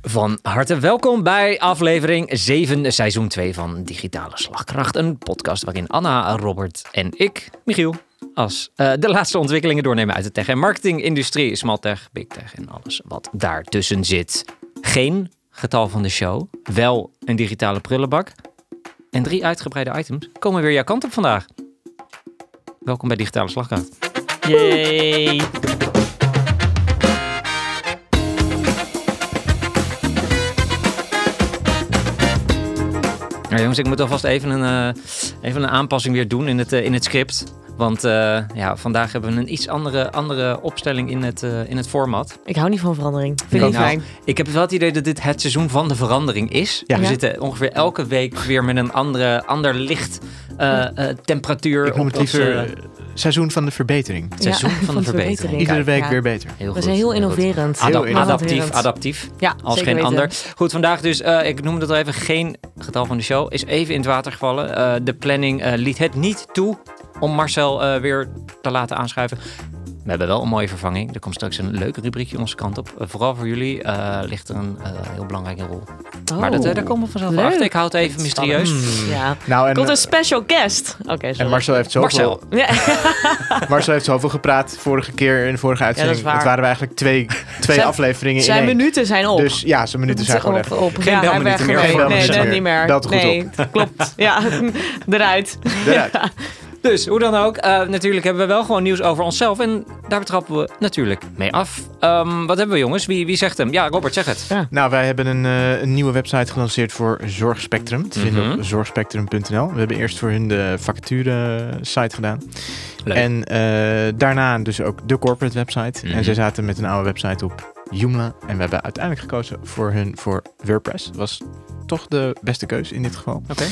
Van harte welkom bij aflevering 7, seizoen 2 van Digitale Slagkracht. Een podcast waarin Anna, Robert en ik, Michiel, als eh, de laatste ontwikkelingen doornemen uit de tech- en marketingindustrie. Smalltech, big tech en alles wat daartussen zit. Geen getal van de show, wel een digitale prullenbak. En drie uitgebreide items komen weer jouw kant op vandaag. Welkom bij Digitale Slagkracht. Yay! Nou jongens, ik moet alvast even een, eh, even een aanpassing weer doen in het, eh, in het script. Want eh, ja, vandaag hebben we een iets andere, andere opstelling in het, eh, in het format. Ik hou niet van verandering. Vind ik Nee, niet nou, fijn. Ik heb wel het idee dat dit het seizoen van de verandering is. Ja. We Ja. zitten ongeveer elke week weer met een andere, ander licht eh, eh, temperatuur. Ik noem op het dat, liever eh, eh, seizoen van de verbetering. het seizoen Ja, van, de verbetering. Iedere Kijk, week ja. weer beter. Heel We goed, zijn heel goed. innoverend. Heel Adap- innoverend. adaptief, Innoverend. adaptief. Ja, Als zeker geen weten. ander. Goed, vandaag dus, eh, ik noemde het al even, geen getal van de show. Is even in het water gevallen. Eh, de planning eh, liet het niet toe om Marcel eh, weer te laten aanschuiven. We hebben wel een mooie vervanging. Er komt straks een leuk rubriekje onze kant op. Eh, vooral voor jullie eh, ligt er een eh, heel belangrijke rol. Oh. maar dat, eh, daar komen we vanzelf leuk. achter. Ik houd het even mysterieus. Ja. Nou, en, Komt een eh, special guest. Oké, en sorry. Marcel, heeft Marcel. zoveel, Ja, Marcel heeft zoveel gepraat vorige keer in de vorige uitzending. waar. Het waren we eigenlijk twee, twee Zijn- afleveringen zijn in één. minuten zijn op. Dus ja, zijn minuten zijn gewoon op, echt op. op. Geen ja, belminuten hij werd meer, gewoon- Nee, geen belminuten dat meer. niet meer. Belt goed nee, klopt. Ja, eruit. Eruit. Dus, hoe dan ook. eh, natuurlijk hebben we wel gewoon nieuws over onszelf. En daar trappen we natuurlijk mee af. Ehm, wat hebben we jongens? Wie, wie zegt hem? Ja, Robert, zeg het. Nou, wij hebben een, eh, een nieuwe website gelanceerd voor Zorgspectrum. Te vinden Mhm. op zorgspectrum.nl. We hebben eerst voor hun de vacature-site gedaan. Leuk. En eh, daarna dus ook de corporate website. Mhm. En zij zaten met een oude website op Joomla. En we hebben uiteindelijk gekozen voor hun voor WordPress. Was toch de beste keus in dit geval. Oké.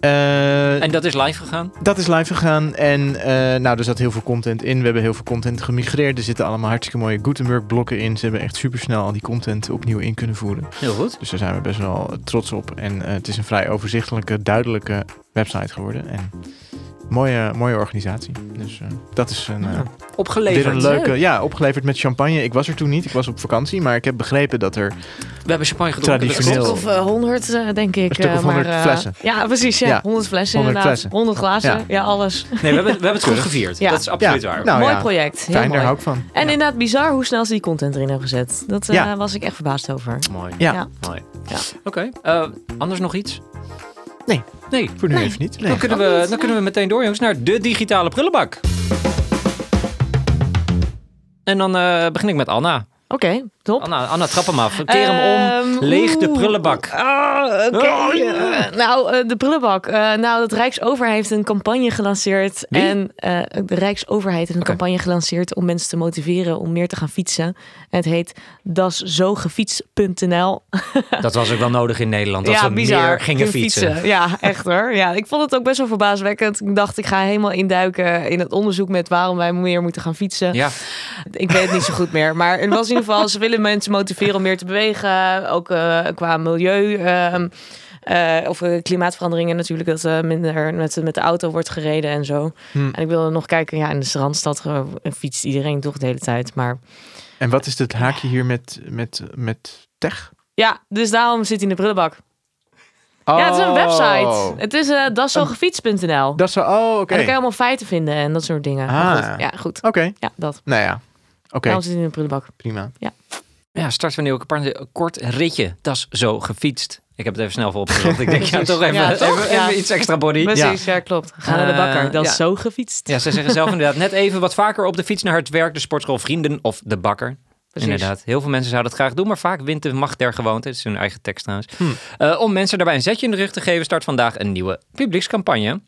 Eh, En dat is live gegaan. dat is live gegaan. En eh, nou, er zat heel veel content in. We hebben heel veel content gemigreerd. Er zitten allemaal hartstikke mooie Gutenberg-blokken in. Ze hebben echt supersnel al die content opnieuw in kunnen voeren. Heel goed. Dus daar zijn we best wel trots op. En eh, het is een vrij overzichtelijke, duidelijke website geworden. En mooie, mooie organisatie. Dus eh, dat is een, eh, Ja. weer Opgeleverd. een leuke... Ja, opgeleverd met champagne. Ik was er toen niet. Ik was op vakantie. Maar ik heb begrepen dat er... We hebben champagne gedronken. dat Traditioneel. klopt. Of eh, 100, eh, denk ik. Een stuk eh, of 100 maar, eh, flessen. Ja, precies. Ja. Ja, 100 flessen 100 inderdaad. flessen. 100 glazen. Ja, Ja. alles. Nee, we hebben, we hebben het goed gevierd. Ja. Dat is absoluut Ja. waar. Nou mooi ja, project. Heel Fijn, daar mooi. hou ik van. En Ja. inderdaad bizar hoe snel ze die content erin hebben gezet. Dat eh, Ja. was ik echt verbaasd over. Mooi. Ja. Ja. Mooi. Ja. Oké. eh, anders nog iets? Nee. Nee. Voor nu Nee. even niet. Nee. Dan kunnen, we, dan kunnen we meteen door, jongens, naar de digitale prullenbak. En dan eh, begin ik met Anna. Oké, top. Anna, Anna trap hem af. Keer hem om. Ehm, Leeg de oeh. prullenbak. Ah, oké. Oh, ja. Eh, nou, eh, de prullenbak. Eh, nou, de Rijksoverheid heeft een campagne gelanceerd. Wie? En eh, de Rijksoverheid heeft een Oké. campagne gelanceerd om mensen te motiveren om meer te gaan fietsen. En het heet daszogefiets.nl. Dat was ook wel nodig in Nederland. Dat ja, we bizar. meer gingen Ging fietsen. Ja, echt hoor. Ja, ik vond het ook best wel verbaaswekkend. Ik dacht, ik ga helemaal induiken in het onderzoek met waarom wij meer moeten gaan fietsen. Ja. Ik weet het niet zo goed meer. Maar het was in ieder geval, ze willen mensen motiveren om meer te bewegen. Ook eh, qua milieu. ehm, eh, of eh, klimaatveranderingen natuurlijk, dat eh, minder met, met de auto wordt gereden en zo. Hm. En ik wilde nog kijken, ja, in de Randstad eh, fietst iedereen toch de hele tijd. Maar En wat is het haakje hier met, met, met tech? ja, dus daarom zit hij in de prullenbak. Oh. Ja, het is een website. Het is eh daszogefiets.nl. Dat is zo... Oh, oké. En dan kan je allemaal feiten vinden en dat soort dingen. Maar Ah. goed, ja, goed. Oké. Ja, dat. Nou ja. Oké, Daarom zit hij in de prullenbak. prima. Ja, starten we nu ook een paar- een kort ritje. Dat is zo gefietst. Ik heb het even snel voor opgezocht. Ik denk, ja, Precies. toch even, Ja, toch? even, Ja. even iets extra body. Precies, ja, klopt. Ga naar de bakker. Eh, Dat is ja. zo gefietst. Ja, ze zeggen zelf inderdaad net even wat vaker op de fiets naar het werk, de sportschool, vrienden of de bakker. Precies. Inderdaad, heel veel mensen zouden dat graag doen, maar vaak wint de macht der gewoonte. Het is hun eigen tekst trouwens. Hmm. Eh, om mensen daarbij een zetje in de rug te geven, start vandaag een nieuwe publiekscampagne.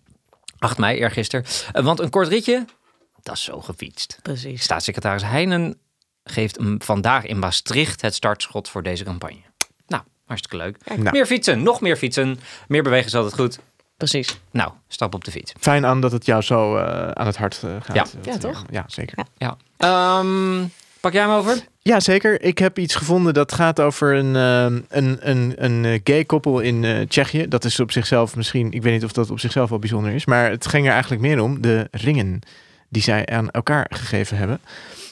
8 mei, eergisteren. Eh, want een kort ritje, dat is zo gefietst. Precies. Staatssecretaris Heijnen geeft hem vandaag in Maastricht het startschot voor deze campagne. Nou, hartstikke leuk. Nou. Meer fietsen, nog meer fietsen. Meer bewegen is altijd goed. Precies. Nou, stap op de fiets. Fijn aan dat het jou zo eh, aan het hart eh, gaat. Ja. Dat, Ja, eh, toch? Ja, zeker. Ja. Ehm, pak jij hem over? Ja, zeker. Ik heb iets gevonden dat gaat over een, ehm, een, een, een eh, gay koppel in eh, Tsjechië. Dat is op zichzelf misschien, ik weet niet of dat op zichzelf al bijzonder is, maar het ging er eigenlijk meer om de ringen die zij aan elkaar gegeven hebben.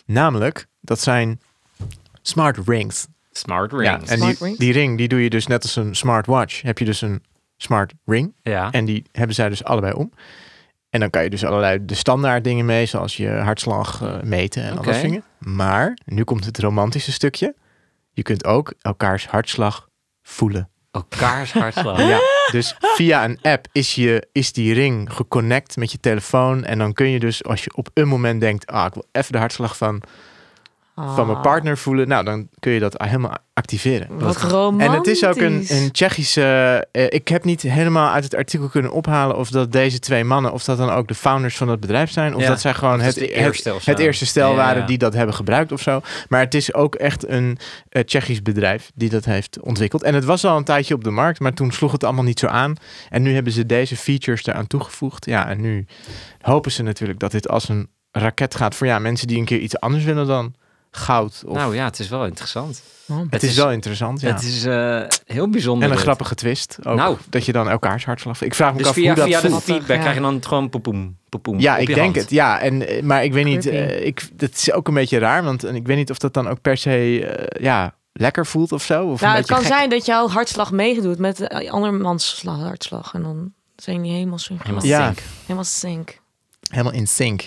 Namelijk, dat zijn smart rings. Smart Ja, rings. Ja, en Smart die, ring. die ring die doe je dus net als een smartwatch. Heb je dus een smart ring. En die hebben zij dus allebei om. En dan kan je dus allerlei de standaard dingen mee, zoals je hartslag eh, meten en al dat Oké. soort dingen. Maar, nu komt het romantische stukje. Je kunt ook elkaars hartslag voelen. elkaars hartslag. Ja, dus via een app is, je, is die ring geconnect met je telefoon. En dan kun je dus, als je op een moment denkt... ah, ik wil even de hartslag van, van mijn partner voelen... nou, dan kun je dat helemaal activeren. Ah, Wat romantisch. En het is ook een, een Tsjechische. eh, ik heb niet helemaal uit het artikel kunnen ophalen of dat deze twee mannen, of dat dan ook de founders van dat bedrijf zijn, of Ja, dat zij gewoon dat is het, de het, eerste of zo. het eerste stel Ja, waren ja. die dat hebben gebruikt of zo. Maar het is ook echt een eh, Tsjechisch bedrijf die dat heeft ontwikkeld. En het was al een tijdje op de markt, maar toen sloeg het allemaal niet zo aan. En nu hebben ze deze features eraan toegevoegd. Ja, en nu hopen ze natuurlijk dat dit als een raket gaat voor ja, mensen die een keer iets anders willen dan goud. Of, Nou ja, het is wel interessant. het, is, wel interessant. Ja. Het is eh, heel bijzonder. En een dit. grappige twist. Ook, Nou. dat je dan elkaars hartslag. Ik vraag me Dus af via, hoe dat via de voelt. feedback Ja. krijg je dan gewoon poepoem, poepoem Ja, op ik je denk hand. het. Ja, en, eh, maar ik weet niet. Creepy. eh, ik, dat is ook een beetje raar. Want en ik weet niet of dat dan ook per se eh, ja, lekker voelt of zo. Of Nou, het een beetje kan gek. zijn dat jouw hartslag meegedoet met eh, andermans sla- hartslag. En dan zijn die helemaal sync. Helemaal Ja. sync. Helemaal sync. Helemaal in sync.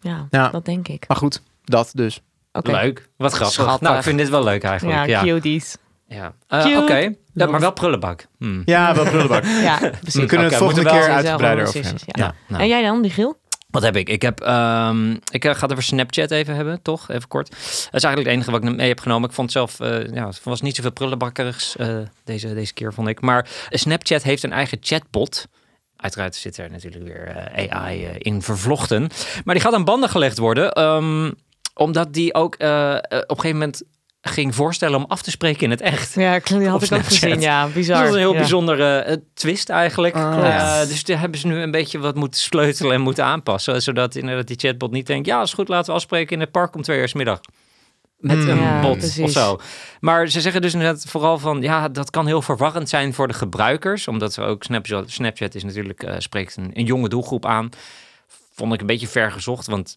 Ja, Ja. dat denk ik. Maar goed, dat dus. Oké. Leuk. Wat grappig. Schattig. Nou, ik vind dit wel leuk eigenlijk. Ja, Ja, ja. cuties. Eh, Cute. Oké, Ja, maar wel prullenbak. Hmm. Ja, wel prullenbak. Ja, precies. We kunnen Oké, het moeten we wel volgende keer Precies, uitgebreider wel over hebben. precies, Ja. ja. Nou, nou. En jij dan, die Giel? Wat heb ik? Ik heb, ehm, ik eh, ga het over Snapchat even hebben, toch? Even kort. Dat is eigenlijk het enige wat ik mee heb genomen. Ik vond zelf, eh ja, er was niet zoveel prullenbakkerigs eh, deze, deze keer, vond ik. Maar Snapchat heeft een eigen chatbot. Uiteraard zit er natuurlijk weer eh, AI eh, in vervlochten. Maar die gaat aan banden gelegd worden, ehm, omdat die ook eh, eh, op een gegeven moment ging voorstellen om af te spreken in het echt. Ja, die had Op ik ook Snapchat. gezien. Ja, bizar. Dus dat is een heel Ja. bijzondere eh, twist eigenlijk. Ah. Eh, Klopt. dus daar hebben ze nu een beetje wat moeten sleutelen en moeten aanpassen. Zodat inderdaad die chatbot niet denkt... ja, is goed, laten we afspreken in het park om twee uur 's middag. Met Hmm. een Ja, bot precies. of zo. Maar ze zeggen dus inderdaad vooral van... ja, dat kan heel verwarrend zijn voor de gebruikers. Omdat we ook Snapchat, Snapchat is natuurlijk... eh, spreekt een, een jonge doelgroep aan. Vond ik een beetje ver gezocht, want...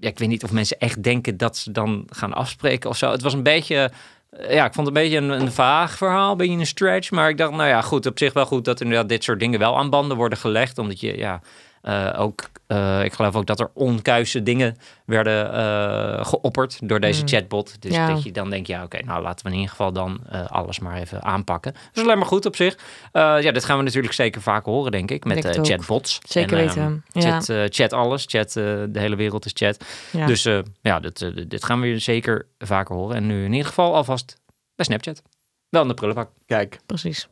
Ja, ik weet niet of mensen echt denken dat ze dan gaan afspreken of zo. Het was een beetje eh, ja, ik vond het een beetje een, een vaag verhaal, een beetje een stretch. Maar ik dacht, nou ja, goed, op zich wel goed dat inderdaad dit soort dingen wel aan banden worden gelegd. Omdat je, ja, eh, ook, eh, ik geloof ook dat er onkuise dingen werden eh, geopperd door deze Mm. chatbot. Dus Ja. dat je dan denkt, ja, oké, nou laten we in ieder geval dan eh, alles maar even aanpakken. Dat is alleen maar goed op zich. Eh, ja, dit gaan we natuurlijk zeker vaak horen, denk ik, met Denk eh, het ook. chatbots. Zeker En, ehm, weten. Ja. Chat, eh, chat alles, chat, eh, de hele wereld is chat. Ja. Dus eh, ja, dit, eh, dit gaan we weer zeker vaker horen. En nu in ieder geval alvast bij Snapchat. Wel in de prullenbak, Kijk, precies.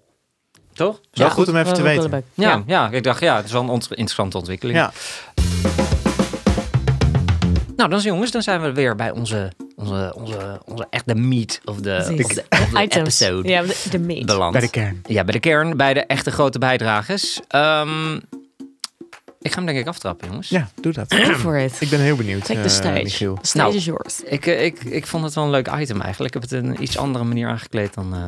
toch? wel goed om even Wel te weten. Willebek. Ja, ja. ik dacht, ja, het is wel een ont- interessante ontwikkeling. Ja. Nou, dan zijn jongens, dan zijn we weer bij onze, onze, onze, onze echte meat of de, Precies. of de, of de Items. episode Ja, de, de meat. beland. bij de kern. Ja, bij de kern, bij de echte grote bijdragers. Ehm, ik ga hem denk ik aftrappen, jongens. Ja, doe dat. Go for it. ik ben heel benieuwd, Take the eh, stage. Michiel. The stage Nou. is yours. Ik, eh, ik, ik vond het wel een leuk item eigenlijk. Ik heb het een iets andere manier aangekleed dan, eh,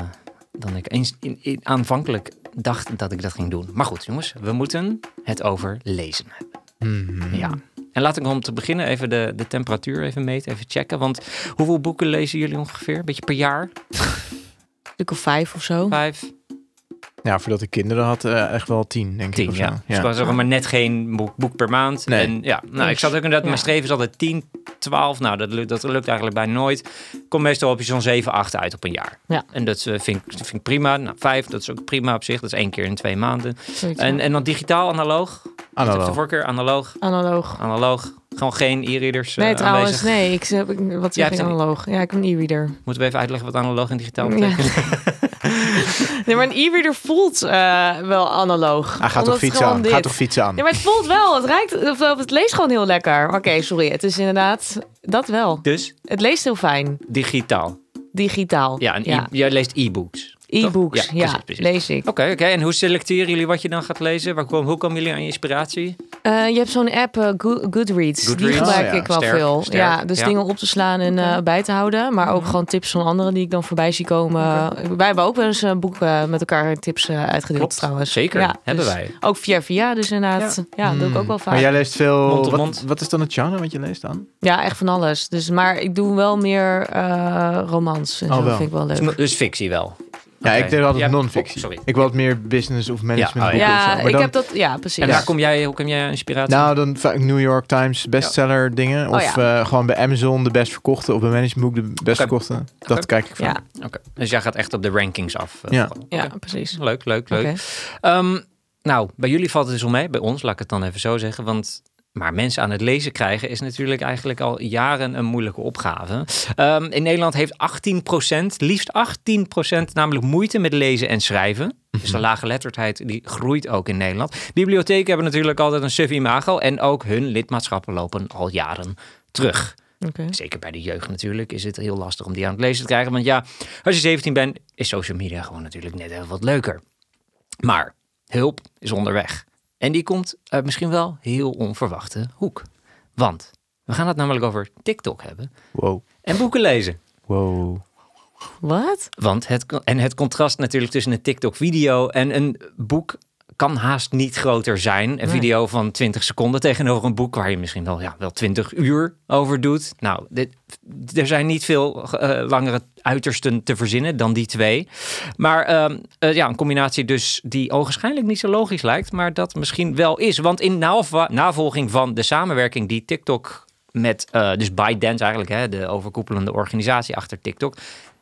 dan ik eens in, in- aanvankelijk dacht dat ik dat ging doen. Maar goed, jongens, we moeten het over lezen hebben. Mhm. Ja. En laat ik om te beginnen even de, de temperatuur even meten, even checken. Want hoeveel boeken lezen jullie ongeveer? Beetje per jaar? Een stuk of vijf of zo. Vijf? Ja, voordat ik kinderen had, eh, echt wel tien, denk ik. Tien, of zo. ja. Dus ik was er maar net geen boek, boek per maand. Nee. En ja, nou, ik Dus, zat ook inderdaad, mijn ja. streven is altijd 10, 12. Nou, dat lukt, dat lukt eigenlijk bijna nooit. Kom meestal op je zo'n 7, 8 uit op een jaar. Ja. En dat eh, vind, ik, vind ik prima. Nou, 5, dat is ook prima op zich. Dat is één keer in twee maanden. Zoiets, En, ja. en dan digitaal, analoog. Dat heb Analoog. de voorkeur, analoog. Analoog. Analoog. Gewoon geen e-readers eh, Nee, trouwens, aanwezig. nee. Ik, heb- ik- wat Jij zeg hebt ik een- analoog? Ja, ik heb een e-reader. Moeten we even uitleggen wat analoog en digitaal Ja. betekent? Nee, maar een e-reader voelt eh, wel analoog. Hij Ah, gaat Omdat toch het fietsen gewoon aan. dit- Gaat toch fietsen aan. Ja, maar het voelt wel. Het, ruikt, of, of het leest gewoon heel lekker. Oké, sorry. Het is inderdaad dat wel. Dus Het leest heel fijn. digitaal. Digitaal. Ja, en ja. e- jij leest e-books. e-books. Ja, Ja, precies, precies. lees ik. Oké, oké. En hoe selecteren jullie wat je dan gaat lezen? Waar kom, hoe komen jullie aan je inspiratie? Eh, je hebt zo'n app, eh, Go- Goodreads. Die Goodreads. gebruik Oh, ja. ik wel Sterk, veel. sterk, ja, dus ja. dingen op te slaan en eh, Oké. bij te houden. Maar ook Mhm. gewoon tips van anderen die ik dan voorbij zie komen. Eh, Wij hebben ook wel eens een boek eh, met elkaar tips eh, uitgedeeld Klopt, trouwens. Zeker, Ja, hebben dus wij. Hmm. Ook via via, dus inderdaad. Ja, dat doe ik ook wel Maar vaak. jij leest veel... Mond tot wat, mond. wat is dan het genre wat je leest dan? Ja, echt van alles. Dus, maar ik doe wel meer eh romans. En Oh, zo wel. vind ik wel leuk. Dus- Dus fictie wel. Ja, Oké. ik deed altijd Ja, non-fictie. oh, sorry. Ik wil wat meer business of management Ja, oh, boeken of zo. Ja, Maar ik dan- heb dat. Ja, precies. En Ja. waar kom jij, hoe kom jij aan inspiratie? Nou, dan vaak New York Times bestseller dingen. Oh, Of ja. eh, gewoon bij Amazon de best verkochte. Of bij managementboek de best verkochte. Dat Oké. kijk ik vaak. Ja, Oké. Dus jij gaat echt op de rankings af. eh, Ja. vooral. ja, Oké. precies. Leuk, leuk, leuk. Oké. Ehm, nou, bij jullie valt het dus om mee. Bij ons, laat ik het dan even zo zeggen. Want, maar mensen aan het lezen krijgen is natuurlijk eigenlijk al jaren een moeilijke opgave. Ehm, in Nederland heeft 18%, liefst 18% namelijk moeite met lezen en schrijven. Dus de laaggeletterdheid die groeit ook in Nederland. Bibliotheken hebben natuurlijk altijd een suf imago. En ook hun lidmaatschappen lopen al jaren terug. Oké. Zeker bij de jeugd natuurlijk is het heel lastig om die aan het lezen te krijgen. Want ja, als je 17 bent, is social media gewoon natuurlijk net even wat leuker. Maar hulp is onderweg. En die komt uit misschien wel heel onverwachte hoek. Want we gaan het namelijk over TikTok hebben Wow. en boeken lezen. Wow. Wat? Want het, en het contrast natuurlijk tussen een TikTok-video en een boek kan haast niet groter zijn. Een Nee. video van 20 seconden tegenover een boek waar je misschien wel, ja, wel 20 uur over doet. Nou, dit, er zijn niet veel eh, langere uitersten te verzinnen dan die twee. Maar ehm, eh, ja, een combinatie dus die ogenschijnlijk niet zo logisch lijkt, maar dat misschien wel is. Want in nava- navolging van de samenwerking die TikTok met, eh dus ByteDance eigenlijk, hè, de overkoepelende organisatie achter TikTok,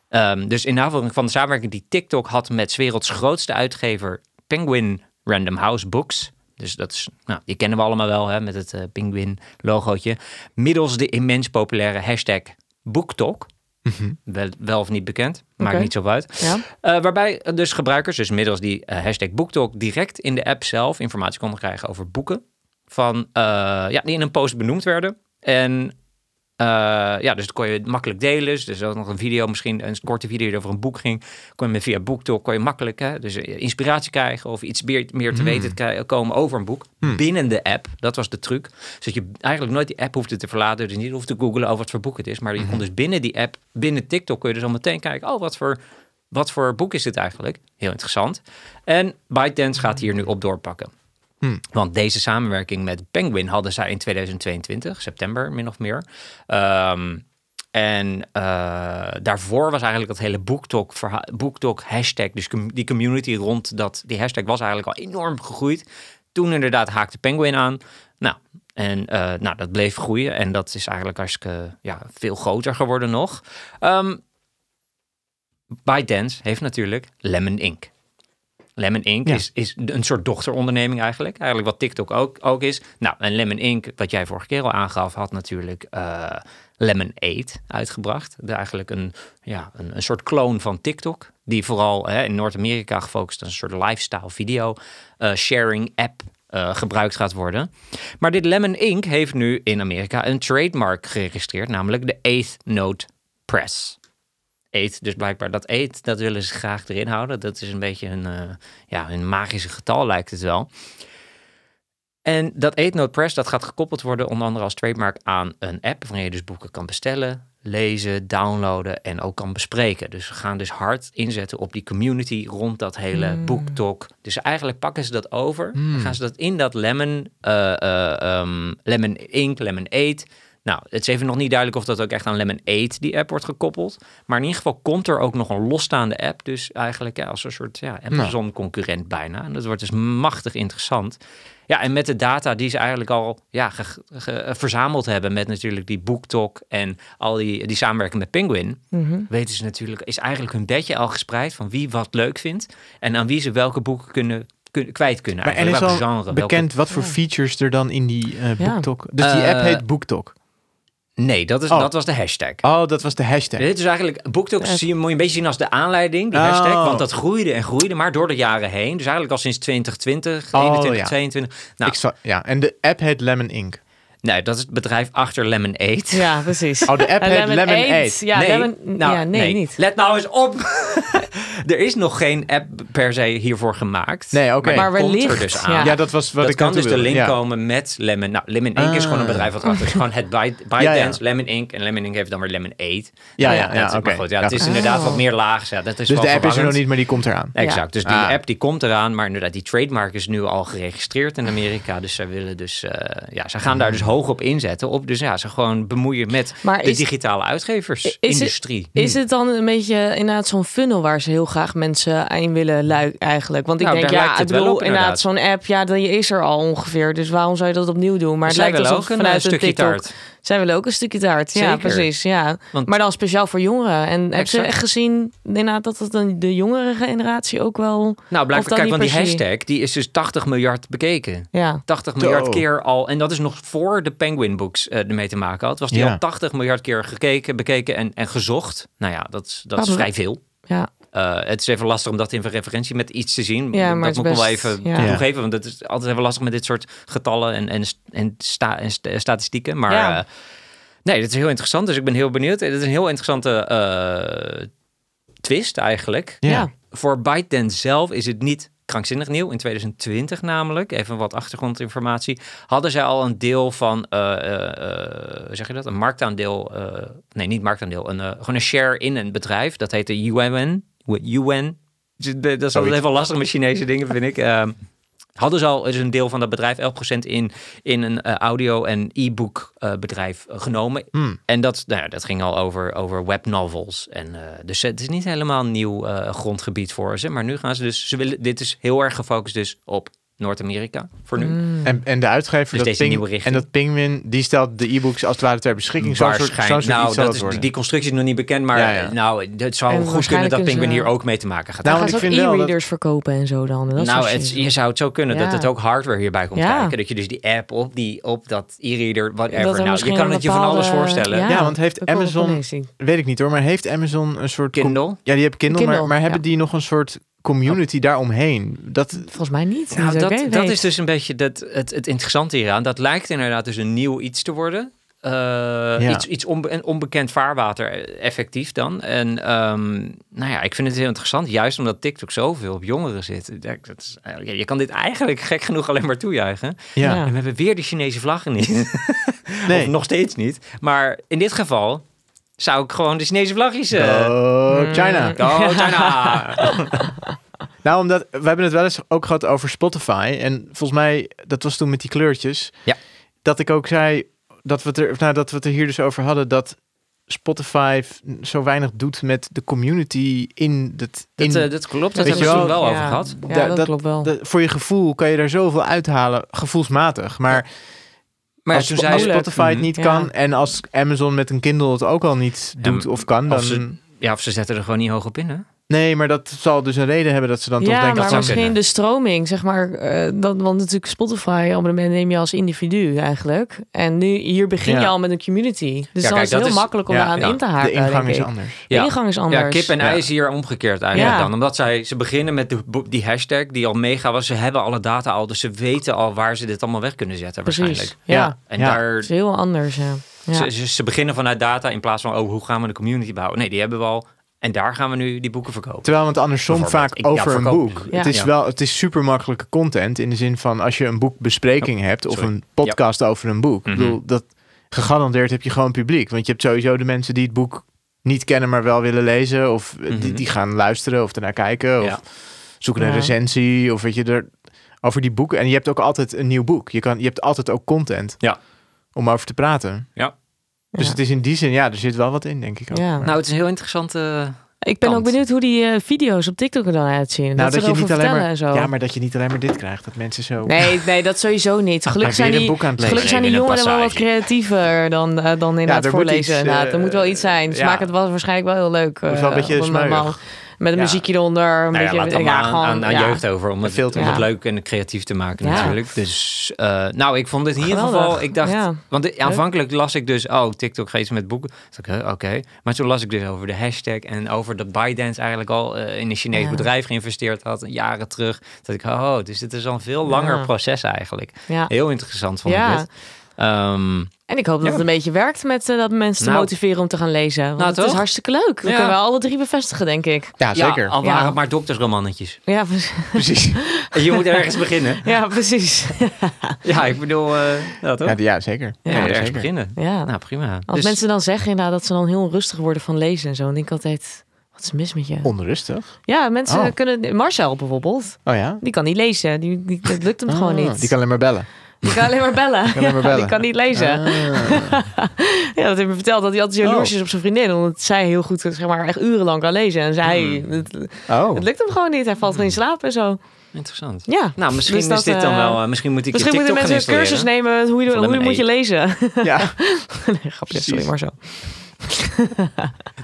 Ehm, dus in navolging van de samenwerking die TikTok had met 's werelds grootste uitgever Penguin Random House Books. Dus dat is, nou, die kennen we allemaal wel hè, met het eh Penguin logootje. Middels de immens populaire hashtag BookTok. Wel, wel of niet bekend, maakt Oké. niet zo uit. Ja. Eh, waarbij dus gebruikers, dus middels die eh, hashtag BookTok, direct in de app zelf informatie konden krijgen over boeken. Van, eh, ja, die in een post benoemd werden. En eh, ja, dus dat kon je makkelijk delen. Dus er was nog een video, misschien een korte video die over een boek ging. Kon je met via BookTok kon je makkelijk hè, dus eh, inspiratie krijgen of iets meer, meer te weten krij- komen over een boek. Binnen de app, dat was de truc. Zodat je eigenlijk nooit die app hoefde te verlaten. Dus niet hoefde te googlen over wat voor boek het is. Maar je kon dus binnen die app, binnen TikTok, kun je dus al meteen kijken. Oh, wat voor, wat voor boek is dit eigenlijk? Heel interessant. En ByteDance gaat hier nu op doorpakken. Want deze samenwerking met Penguin hadden zij in 2022, september min of meer. Ehm, en eh, daarvoor was eigenlijk dat hele BookTok, verha- BookTok hashtag, dus com- die community rond dat, die hashtag was eigenlijk al enorm gegroeid. Toen inderdaad haakte Penguin aan. Nou, en eh, nou, dat bleef groeien en dat is eigenlijk hartstikke ja, veel groter geworden nog. Ehm ByteDance heeft natuurlijk Lemon Inc. Lemon Inc. Ja. Is, is een soort dochteronderneming eigenlijk. Eigenlijk wat TikTok ook, ook is. Nou, en Lemon Inc., wat jij vorige keer al aangaf, had natuurlijk eh Lemon 8 uitgebracht. De, eigenlijk een, ja, een, een soort kloon van TikTok. Die vooral hè, in Noord-Amerika gefocust als een soort lifestyle video eh, sharing app eh, gebruikt gaat worden. Maar dit Lemon Inc. heeft nu in Amerika een trademark geregistreerd, namelijk de Eighth Note Press eet. Dus blijkbaar dat eet, dat willen ze graag erin houden. Dat is een beetje een, eh, ja, een magische getal lijkt het wel. En dat Eetnote Press, dat gaat gekoppeld worden onder andere als trademark aan een app waarin je dus boeken kan bestellen, lezen, downloaden en ook kan bespreken. Dus we gaan dus hard inzetten op die community rond dat hele BookTok. Dus eigenlijk pakken ze dat over, dan gaan ze dat in dat Lemon, eh, eh, ehm, Lemon Inc, Lemon Eat. Nou, het is even nog niet duidelijk of dat ook echt aan Lemon Eat die app wordt gekoppeld. Maar in ieder geval komt er ook nog een losstaande app. Dus eigenlijk ja, als een soort ja, Nou. Amazon-concurrent bijna. En dat wordt dus machtig interessant. Ja, en met de data die ze eigenlijk al ja, ge- ge- verzameld hebben met natuurlijk die BookTok en al die, die samenwerking met Penguin, Mhm. weten ze natuurlijk, is eigenlijk hun bedje al gespreid van wie wat leuk vindt en aan wie ze welke boeken kunnen, kun- kwijt kunnen. Maar en eigenlijk, is al welke genre, welke- bekend wat voor features er dan in die eh Ja. BookTok... Dus die Eh, app heet BookTok. Nee, dat, is, Oh. dat was de hashtag. Oh, dat was de hashtag. Dit is eigenlijk, BookTok zie je, moet je een beetje zien als de aanleiding, die Oh. hashtag. Want dat groeide en groeide, maar door de jaren heen. Dus eigenlijk al sinds 2020, Oh, 21, ja. 22. Nou, Ik zal- ja, en de app heet Lemon Inc. nee, dat is het bedrijf achter Lemonade. Ja, precies. Oh, de app heet Lemon Aid. Ja, nee, lemon, nou, ja nee, niet. Let nou eens op. er is nog geen app per se hiervoor gemaakt. Nee, oké. Maar komt er wellicht, dus aan. ja. Ja, dat was wat dat ik kan naartoe dus de wilde. link Ja. komen met Lemon. Nou, Lemon Inc. is gewoon een Ah. bedrijf wat erachter is. Gewoon het By- ByteDance, Ja, ja. Lemon Inc. En Lemon Inc. heeft dan weer Lemon 8. Ja, Nou ja, ja, dat is- oké. Maar goed, ja, Ja, het is goed. inderdaad Oh. wat meer laag. Ja, dat is Dus wel de app is er nog verwarrend. niet, maar die komt eraan. Exact, dus die Ah. app die komt eraan, maar inderdaad die trademark is nu al geregistreerd in Amerika. Dus zij willen dus, eh, ja, ze gaan daar dus hoog op inzetten. Op, dus ja, ze gewoon bemoeien met Hmm. Maar de is- digitale uitgeversindustrie. Is het dan een beetje inderdaad zo'n funnel waar ze heel graag mensen in willen luiken eigenlijk? Want ik Nou, denk, daar ja, lijkt ik het wel bedoel, op, inderdaad, zo'n app, ja, die is er al ongeveer. Dus waarom zou je dat opnieuw doen? Maar het Zij lijkt willen alsof ook een eh, vanuit een stukje TikTok taart. Zij willen ook een stukje taart. Ja, Zeker. precies. Ja. Want- maar dan speciaal voor jongeren. En heb je Exact. echt gezien inderdaad, dat het dan de jongere generatie ook wel... Nou, Of dan blijkbaar, kijk, niet want die per se. hashtag die is dus 80 miljard bekeken. Ja, 80 miljard Zo. keer al. En dat is nog voor de Penguin Books eh, ermee te maken had. Was die Ja. al 80 miljard keer gekeken, bekeken en, en gezocht. Nou ja, dat, is- dat is Waarom? vrij veel. Nou, ja. Eh, het is even lastig om dat in referentie met iets te zien. Ja, maar dat het moet is ik wel best- even ja. toegeven. Want het is altijd even lastig met dit soort getallen en, en, en, sta, en st- statistieken. Maar Ja. eh, nee, dat is heel interessant. Dus ik ben heel benieuwd. Het is een heel interessante eh, twist eigenlijk. Ja. Ja. Voor ByteDance zelf is het niet krankzinnig nieuw. In 2020 namelijk, even wat achtergrondinformatie, hadden zij al een deel van, eh, eh, eh, hoe zeg je dat, een marktaandeel, eh, nee niet marktaandeel, een, eh, gewoon een share in een bedrijf. Dat heette UN. UN. Dat is altijd Zoiets. even lastig met Chinese dingen, vind ik. Ehm, hadden ze al dus een deel van dat bedrijf, 11% in, in een eh, audio- en e-book eh, bedrijf eh, genomen. Hmm. En dat, nou ja, dat ging al over, over webnovels. En, eh, dus het is niet helemaal een nieuw eh, grondgebied voor ze. Maar nu gaan ze dus, ze willen, dit is heel erg gefocust dus op Noord-Amerika voor nu. Mm. En, en de uitgever, Dus dat deze Ping- nieuwe richting. en dat Penguin, die stelt de e-books als het ware ter beschikking. Zo'n soort, zo'n soort nou, iets zal dat het is, die- worden. die constructie is nog niet bekend. Maar Ja, ja. eh, nou, het zou En goed kunnen dat waarschijnlijk Penguin is, eh, hier ook mee te maken gaat Nou, gaan want ze ik ook vind wel dat- e-readers verkopen en zo dan. Dat nou, is het, je zou het zo kunnen dat Ja. het ook hardware hierbij komt Ja. kijken. Dat je dus die app op, die, op dat e-reader, Dat er whatever. Nou, je misschien kan een het je van bepaalde- alles voorstellen. ja, ja, want heeft bepaalde Amazon, connectie. weet ik niet hoor, maar heeft Amazon een soort... com- Kindle. Ja, die hebben Kindle, Kindle, maar, maar hebben ja. die nog een soort community daaromheen? Dat, Volgens mij niet. Nou, niet dat, dat, ik dat weet. is dus een beetje dat, het, het interessante hieraan. Dat lijkt inderdaad dus een nieuw iets te worden. Eh, Iets, iets onbe- een onbekend vaarwater eh, effectief dan. En ehm, nou ja, ik vind het heel interessant. Juist omdat TikTok zoveel op jongeren zit. Ja, Dat is, eh, je kan dit eigenlijk gek genoeg alleen maar toejuichen. ja, Ja. En we hebben weer de Chinese vlaggen niet. nee. Of nog steeds niet. Maar in dit geval zou ik gewoon de Chinese vlagjes... eh Oh, Mm. China. Go China! Nou, omdat we hebben het wel eens ook gehad over Spotify. En volgens mij, dat was toen met die kleurtjes. Ja. Dat ik ook zei dat we het er, of nou, dat we het er hier dus over hadden dat Spotify f- zo weinig doet met de community in het. In, dat, eh, dat klopt, dat Weet hebben we toen je wel, wel over Ja. gehad. Ja, Da- dat, dat- klopt wel. de- voor je gevoel kan je daar zoveel uithalen, gevoelsmatig. Maar Maar als, toen Sp- zei als ze- Spotify het niet Mhm. Ja. kan en als Amazon met een Kindle het ook al niet Ja, doet of kan, of dan. ze- Ja, of ze zetten er gewoon niet hoog op in, hè? Nee, maar dat zal dus een reden hebben dat ze dan toch ja, denken. maar zou misschien kunnen. de stroming, zeg maar. eh, dan, want natuurlijk Spotify abonnement neem je als individu eigenlijk. En nu hier begin je Ja. al met een community. Ja, Dus dan kijk, is het dat heel is- makkelijk om ja, eraan ja. in te de haken. ingang denk is ik. anders. De Ja. ingang is anders. Ja, kip en ei is hier omgekeerd eigenlijk Ja. dan. Omdat zij, ze beginnen met de, bo- die hashtag die al mega was. Ze hebben alle data al, dus ze weten al waar ze dit allemaal weg kunnen zetten Precies. waarschijnlijk. Ja, En Ja. het daar, is heel anders. Ja. Ja. ze, ze, ze beginnen vanuit data in plaats van, oh, hoe gaan we de community bouwen? Nee, die hebben we al. En daar gaan we nu die boeken verkopen. Terwijl, want andersom Bijvoorbeeld. vaak Ik- ja, over een verkoop. boek. Ja. Het is Ja. wel, het is super makkelijke content in de zin van als je een boekbespreking hebt of Oh, sorry. een podcast over een boek. Mhm. Ik bedoel, dat gegarandeerd heb je gewoon publiek, want je hebt sowieso de mensen die het boek niet kennen, maar wel willen lezen of eh, Mhm. die, die gaan luisteren of ernaar kijken of Ja. zoeken een Ja. recensie of weet je er over die boeken. En je hebt ook altijd een nieuw boek. Je kan, je hebt altijd ook content Ja. om over te praten. Ja. Dus Ja. het is in die zin, ja, er zit wel wat in, denk ik ook. Ja. Maar- Nou, het is een heel eh, interessante... Ik ben kant. ook benieuwd hoe die eh, video's op TikTok er dan uitzien. Nou, dat, dat, ze je erover niet alleen vertellen maar, en zo. ja, maar dat je niet alleen maar dit krijgt. Dat mensen zo. Nee, nee, dat sowieso niet. Gelukkig weer zijn een die, boek aan het lezen. gelukkig zijn die Nee, weer een jongeren wel wat passage. creatiever dan, eh, dan inderdaad er moet voorlezen. iets, inderdaad. eh, er moet wel iets zijn. Ze ja. maken het wel, waarschijnlijk wel heel leuk. wel eh, een beetje op smuiig. normaal- Met een Ja. muziekje eronder. Een Nou ja, beetje, laat allemaal aan, aan, aan ja. jeugd over om het, Filter. om het Ja. leuk en creatief te maken Ja. natuurlijk. Dus, eh, nou, ik vond dit in ieder Geweldig. geval... Ik dacht, Ja. want eh, aanvankelijk las ik dus... Oh, TikTok geeft met boeken. Toen dacht ik, huh, oké. Maar toen las ik dus over de hashtag... en over dat ByteDance eigenlijk al eh, in een Chinees Ja. bedrijf geïnvesteerd had... jaren terug. Dat ik, oh, dus dit is al een veel langer Ja. proces eigenlijk. Ja. Heel interessant vond Ja. ik dit. Ehm, En ik hoop dat Ja. het een beetje werkt met eh, dat mensen Nou. te motiveren om te gaan lezen. Want Nou, het is toch? hartstikke leuk. We Ja. kunnen wel alle drie bevestigen, denk ik. Ja, zeker. Ja, al waren Ja. het maar doktersromannetjes. Ja, precies. Precies. Je moet ergens beginnen. Ja, precies. Ja, ik bedoel, eh ja, toch? Ja, Ja, d- ja, zeker. je moet ergens zeker. beginnen. Ja. Nou, prima. Als Dus- mensen dan zeggen inderdaad dat ze dan heel onrustig worden van lezen en zo, dan denk ik altijd, wat is mis met je? Onrustig. Ja, mensen Oh. kunnen... Marcel bijvoorbeeld, Oh ja? die kan niet lezen. Die, die, dat lukt hem gewoon Ah, niet. Die kan alleen maar bellen. Die kan alleen maar bellen. Kan alleen maar Ja, bellen. die kan niet lezen. Ah. Ja, dat heeft me verteld dat hij altijd jaloers Oh. is op zijn vriendin. Omdat zij heel goed, zeg maar, echt urenlang kan lezen. En zij, Hmm. het, Oh. het lukt hem gewoon niet. Hij valt gewoon in slaap en zo. Interessant. Ja. Nou, misschien Dus dat, is dit dan eh, wel... eh, misschien moet ik Misschien je moeten TikTok gaan mensen een installeren. cursus nemen hoe, je, Van hoe je M&A. moet je lezen. Ja. nee, grapje, sorry Precies. maar zo.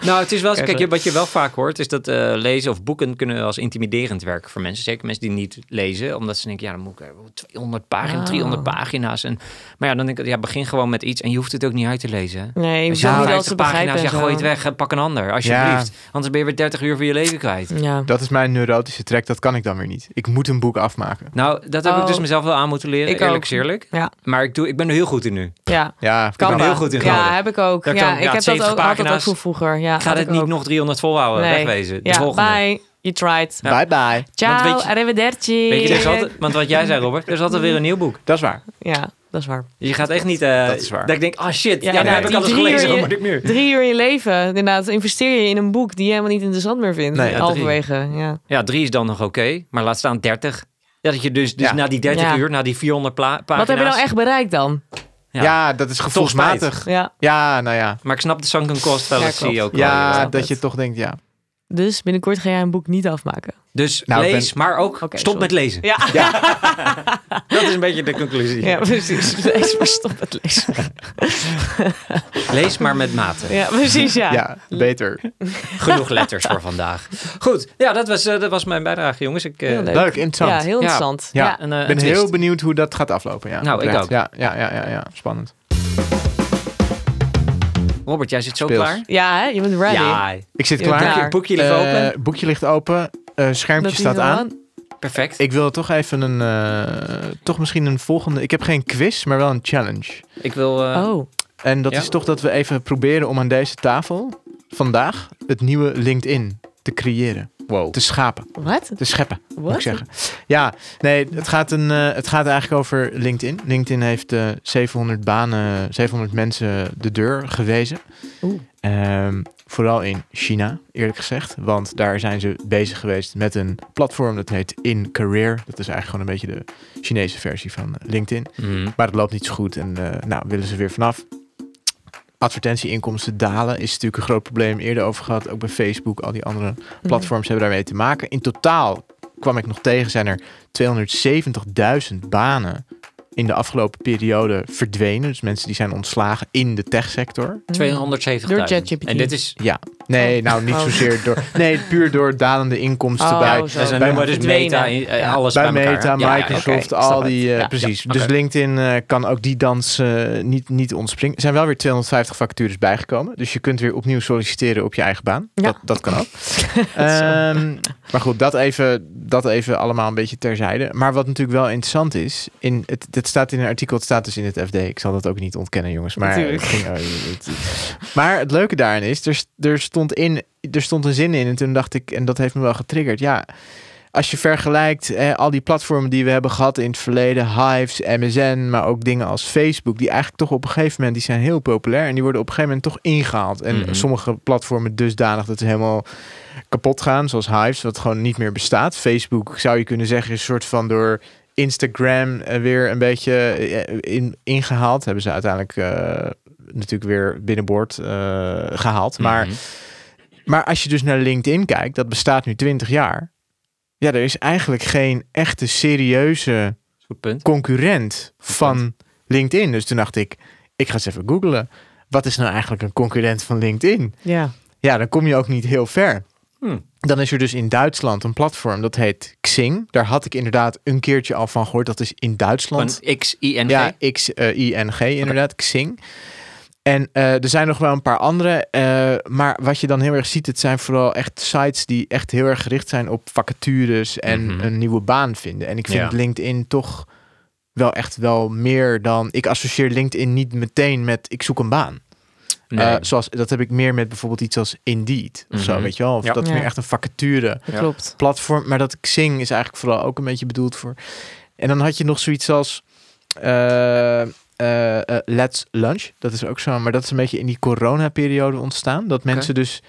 Nou, het is wel... Cursus. Kijk, je- wat je wel vaak hoort... is dat eh, lezen of boeken kunnen als intimiderend werken voor mensen. Zeker mensen die niet lezen. Omdat ze denken, ja, dan moet ik eh, 200 pagina's, Oh. 300 pagina's. En, maar ja, dan denk ik, ja, begin gewoon met iets. En je hoeft het ook niet uit te lezen. hè. Nee, Als je moet je wel ja, dat ze begrijpen. pagina's, ja, en zo. gooi het weg. eh, Pak een ander, alsjeblieft. Anders ben je weer 30 uur van je leven kwijt. Ja. Dat is mijn neurotische trek, dat kan ik dan weer niet. Ik moet een boek afmaken. Nou, dat heb ik Oh. dus mezelf wel aan moeten leren. Ik eerlijk ook. is eerlijk. Ja. Maar ik, doe, ik ben er heel goed in nu. ja. Ja, ben Canva. er heel goed in Ja, geworden. heb ik ook. Dat ja, kan, ik ja, heb dat 70 ook altijd ook pagina's. van vroeger. Ja, Ik ga had dit ik niet ook. nog 300 volhouden. Nee. Wegwezen. De ja, volgende. Bye, you tried. Ja. Bye bye. Want Ciao, weet je- arrivederci. Weet je, er is altijd, want wat jij zei, Robert, er is altijd weer een nieuw boek. Dat is waar. Ja, dat is waar. Je gaat echt niet... eh, Dat is waar. Dat ik denk, ah shit, Ja, ja, nee, daar heb ik die alles drie gelezen. uur Wat je- moet ik nu? Drie uur in je leven, inderdaad, investeer je in een boek die je helemaal niet interessant meer vindt. Nee, ja, drie. halverwege. Ja. Ja, drie is dan nog oké, maar laat staan 30. Ja, dat je dus, dus Ja. na die 30 Ja. uur, na die 400 pla- pagina's... Wat heb je nou echt bereikt dan? Ja. Ja, dat is gevoelsmatig. Ja. Ja, nou ja. Maar ik snap de sunken cost fallacy klopt. ook wel. Ja, snap dat het. je toch denkt, ja. Dus binnenkort ga jij een boek niet afmaken. Dus Nou, ik lees, maar ook Oké, stop sorry. met lezen. Ja, Dat is een beetje de conclusie. ja precies. Lees maar stop met lezen. Lees maar met mate. Ja, precies, ja. Ja, beter. Genoeg letters voor vandaag. Goed, ja, dat was, eh, dat was mijn bijdrage, jongens. Ik, eh, Heel leuk. Leuk, interessant. Ja, heel interessant. Ja. Ja. een, eh, Ik ben een heel twist. benieuwd hoe dat gaat aflopen. Ja, Nou, ik Oprecht. ook. Ja, ja, ja, ja, ja. spannend. Robert, jij zit zo Speels. klaar? Ja, hè? je bent ready. Ja, Ik zit Ja, klaar. boekje, daar. boekje ligt Eh, open. boekje ligt open. Eh, schermpje Dat is staat wel aan. Perfect. Ik, Ik wil toch even een... eh, toch misschien een volgende... Ik heb geen quiz, maar wel een challenge. wil... eh, Oh, En dat Ja. is toch dat we even proberen om aan deze tafel... vandaag het nieuwe LinkedIn te creëren. Wow. Te schapen. wat? te scheppen, moet ik What? zeggen. Ja, nee, het gaat, een, eh, het gaat eigenlijk over LinkedIn. LinkedIn heeft eh, 700 banen, 700 mensen de deur gewezen. Oeh. Ehm, vooral in China, eerlijk gezegd. Want daar zijn ze bezig geweest met een platform dat heet In Career. Dat is eigenlijk gewoon een beetje de Chinese versie van eh, LinkedIn. Mhm. Maar het loopt niet zo goed en eh, nou, willen ze weer vanaf. Advertentieinkomsten dalen is natuurlijk een groot probleem. Eerder over gehad, ook bij Facebook. Al die andere Mhm. platforms hebben daarmee te maken. In totaal kwam ik nog tegen, zijn er 270.000 banen in de afgelopen periode verdwenen. Dus mensen die zijn ontslagen in de techsector. Mm. 270.000. Door ChatGPT. En dit is... Ja, nee, Oh. nou niet Oh. zozeer door... Nee, puur door dalende inkomsten Oh, bij... zo. Dat is een bij- nummer, dus meta, verdwenen. eh, alles bij, bij, Meta, elkaar. Ja, ja, ja. Microsoft, oké, ik al snap die... eh, Ja, precies. ja, Dus oké. LinkedIn eh, kan ook die dans eh, niet, niet ontspringen. Er zijn wel weer 250 vacatures bijgekomen. Dus je kunt weer opnieuw solliciteren op je eigen baan. Ja. Dat, dat kan ook. Ehm, maar goed, dat even, dat even allemaal een beetje terzijde. Maar wat natuurlijk wel interessant is... In het, dit staat in een artikel, het staat dus in het FD. Ik zal dat ook niet ontkennen, jongens. Maar, Natuurlijk. het ging- oh, het- maar het leuke daarin is... Er, er, stond in, er stond een zin in en toen dacht ik... En dat heeft me wel getriggerd. Ja, als je vergelijkt eh, al die platformen die we hebben gehad in het verleden, Hives, MSN, maar ook dingen als Facebook, die eigenlijk toch op een gegeven moment, die zijn heel populair en die worden op een gegeven moment toch ingehaald. En Mhm. sommige platformen dusdanig dat ze helemaal kapot gaan, zoals Hives, wat gewoon niet meer bestaat. Facebook zou je kunnen zeggen is een soort van door Instagram eh, weer een beetje eh, in, ingehaald. Hebben ze uiteindelijk eh, natuurlijk weer binnenboord eh, gehaald. Maar Mhm. maar als je dus naar LinkedIn kijkt, dat bestaat nu 20 jaar. Ja, er is eigenlijk geen echte serieuze Goed punt. concurrent van LinkedIn. Dus toen dacht ik, ik ga eens even googlen. Wat is nou eigenlijk een concurrent van LinkedIn? Ja. Ja, dan kom je ook niet heel ver. Hmm. Dan is er dus in Duitsland een platform dat heet Xing. Daar had ik inderdaad een keertje al van gehoord. Dat is in Duitsland. Van X-I-N-G. Ja, eh, X-I-N-G inderdaad, Xing. En eh, er zijn nog wel een paar andere. eh, maar wat je dan heel erg ziet, het zijn vooral echt sites die echt heel erg gericht zijn op vacatures en Mhm. een nieuwe baan vinden. En ik vind Ja. LinkedIn toch wel echt wel meer dan... Ik associeer LinkedIn niet meteen met ik zoek een baan. Nee. Eh, zoals, dat heb ik meer met bijvoorbeeld iets als Indeed of zo, Mhm. weet je wel. Of Ja. dat is meer Ja. echt een vacature dat Ja. klopt. platform. Maar dat ik zing is eigenlijk vooral ook een beetje bedoeld voor. En dan had je nog zoiets als eh, eh, eh, Let's Lunch. Dat is ook zo. Maar dat is een beetje in die coronaperiode ontstaan. Dat mensen dus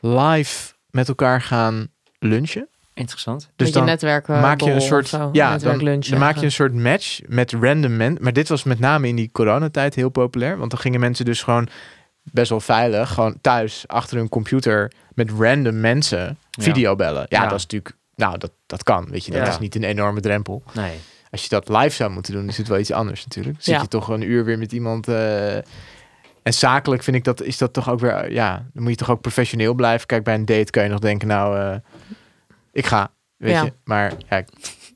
live met elkaar gaan lunchen. Interessant. Dus Met dan je netwerk eh, maak je borrel een of soort zo. ja, dan, netwerklunch. dan maak je een eigenlijk. soort match met random mensen. Maar dit was met name in die coronatijd heel populair, want dan gingen mensen dus gewoon best wel veilig, gewoon thuis achter hun computer met random mensen Ja. video bellen. Ja, Ja. dat is natuurlijk nou dat dat kan, weet je, dat Ja. is niet een enorme drempel. Nee. Als je dat live zou moeten doen, is het wel iets anders natuurlijk. Zit Ja. je toch een uur weer met iemand eh, en zakelijk vind ik dat is dat toch ook weer ja, dan moet je toch ook professioneel blijven. Kijk, bij een date kan je nog denken nou eh, ik ga, weet Ja. je. Maar ja, ik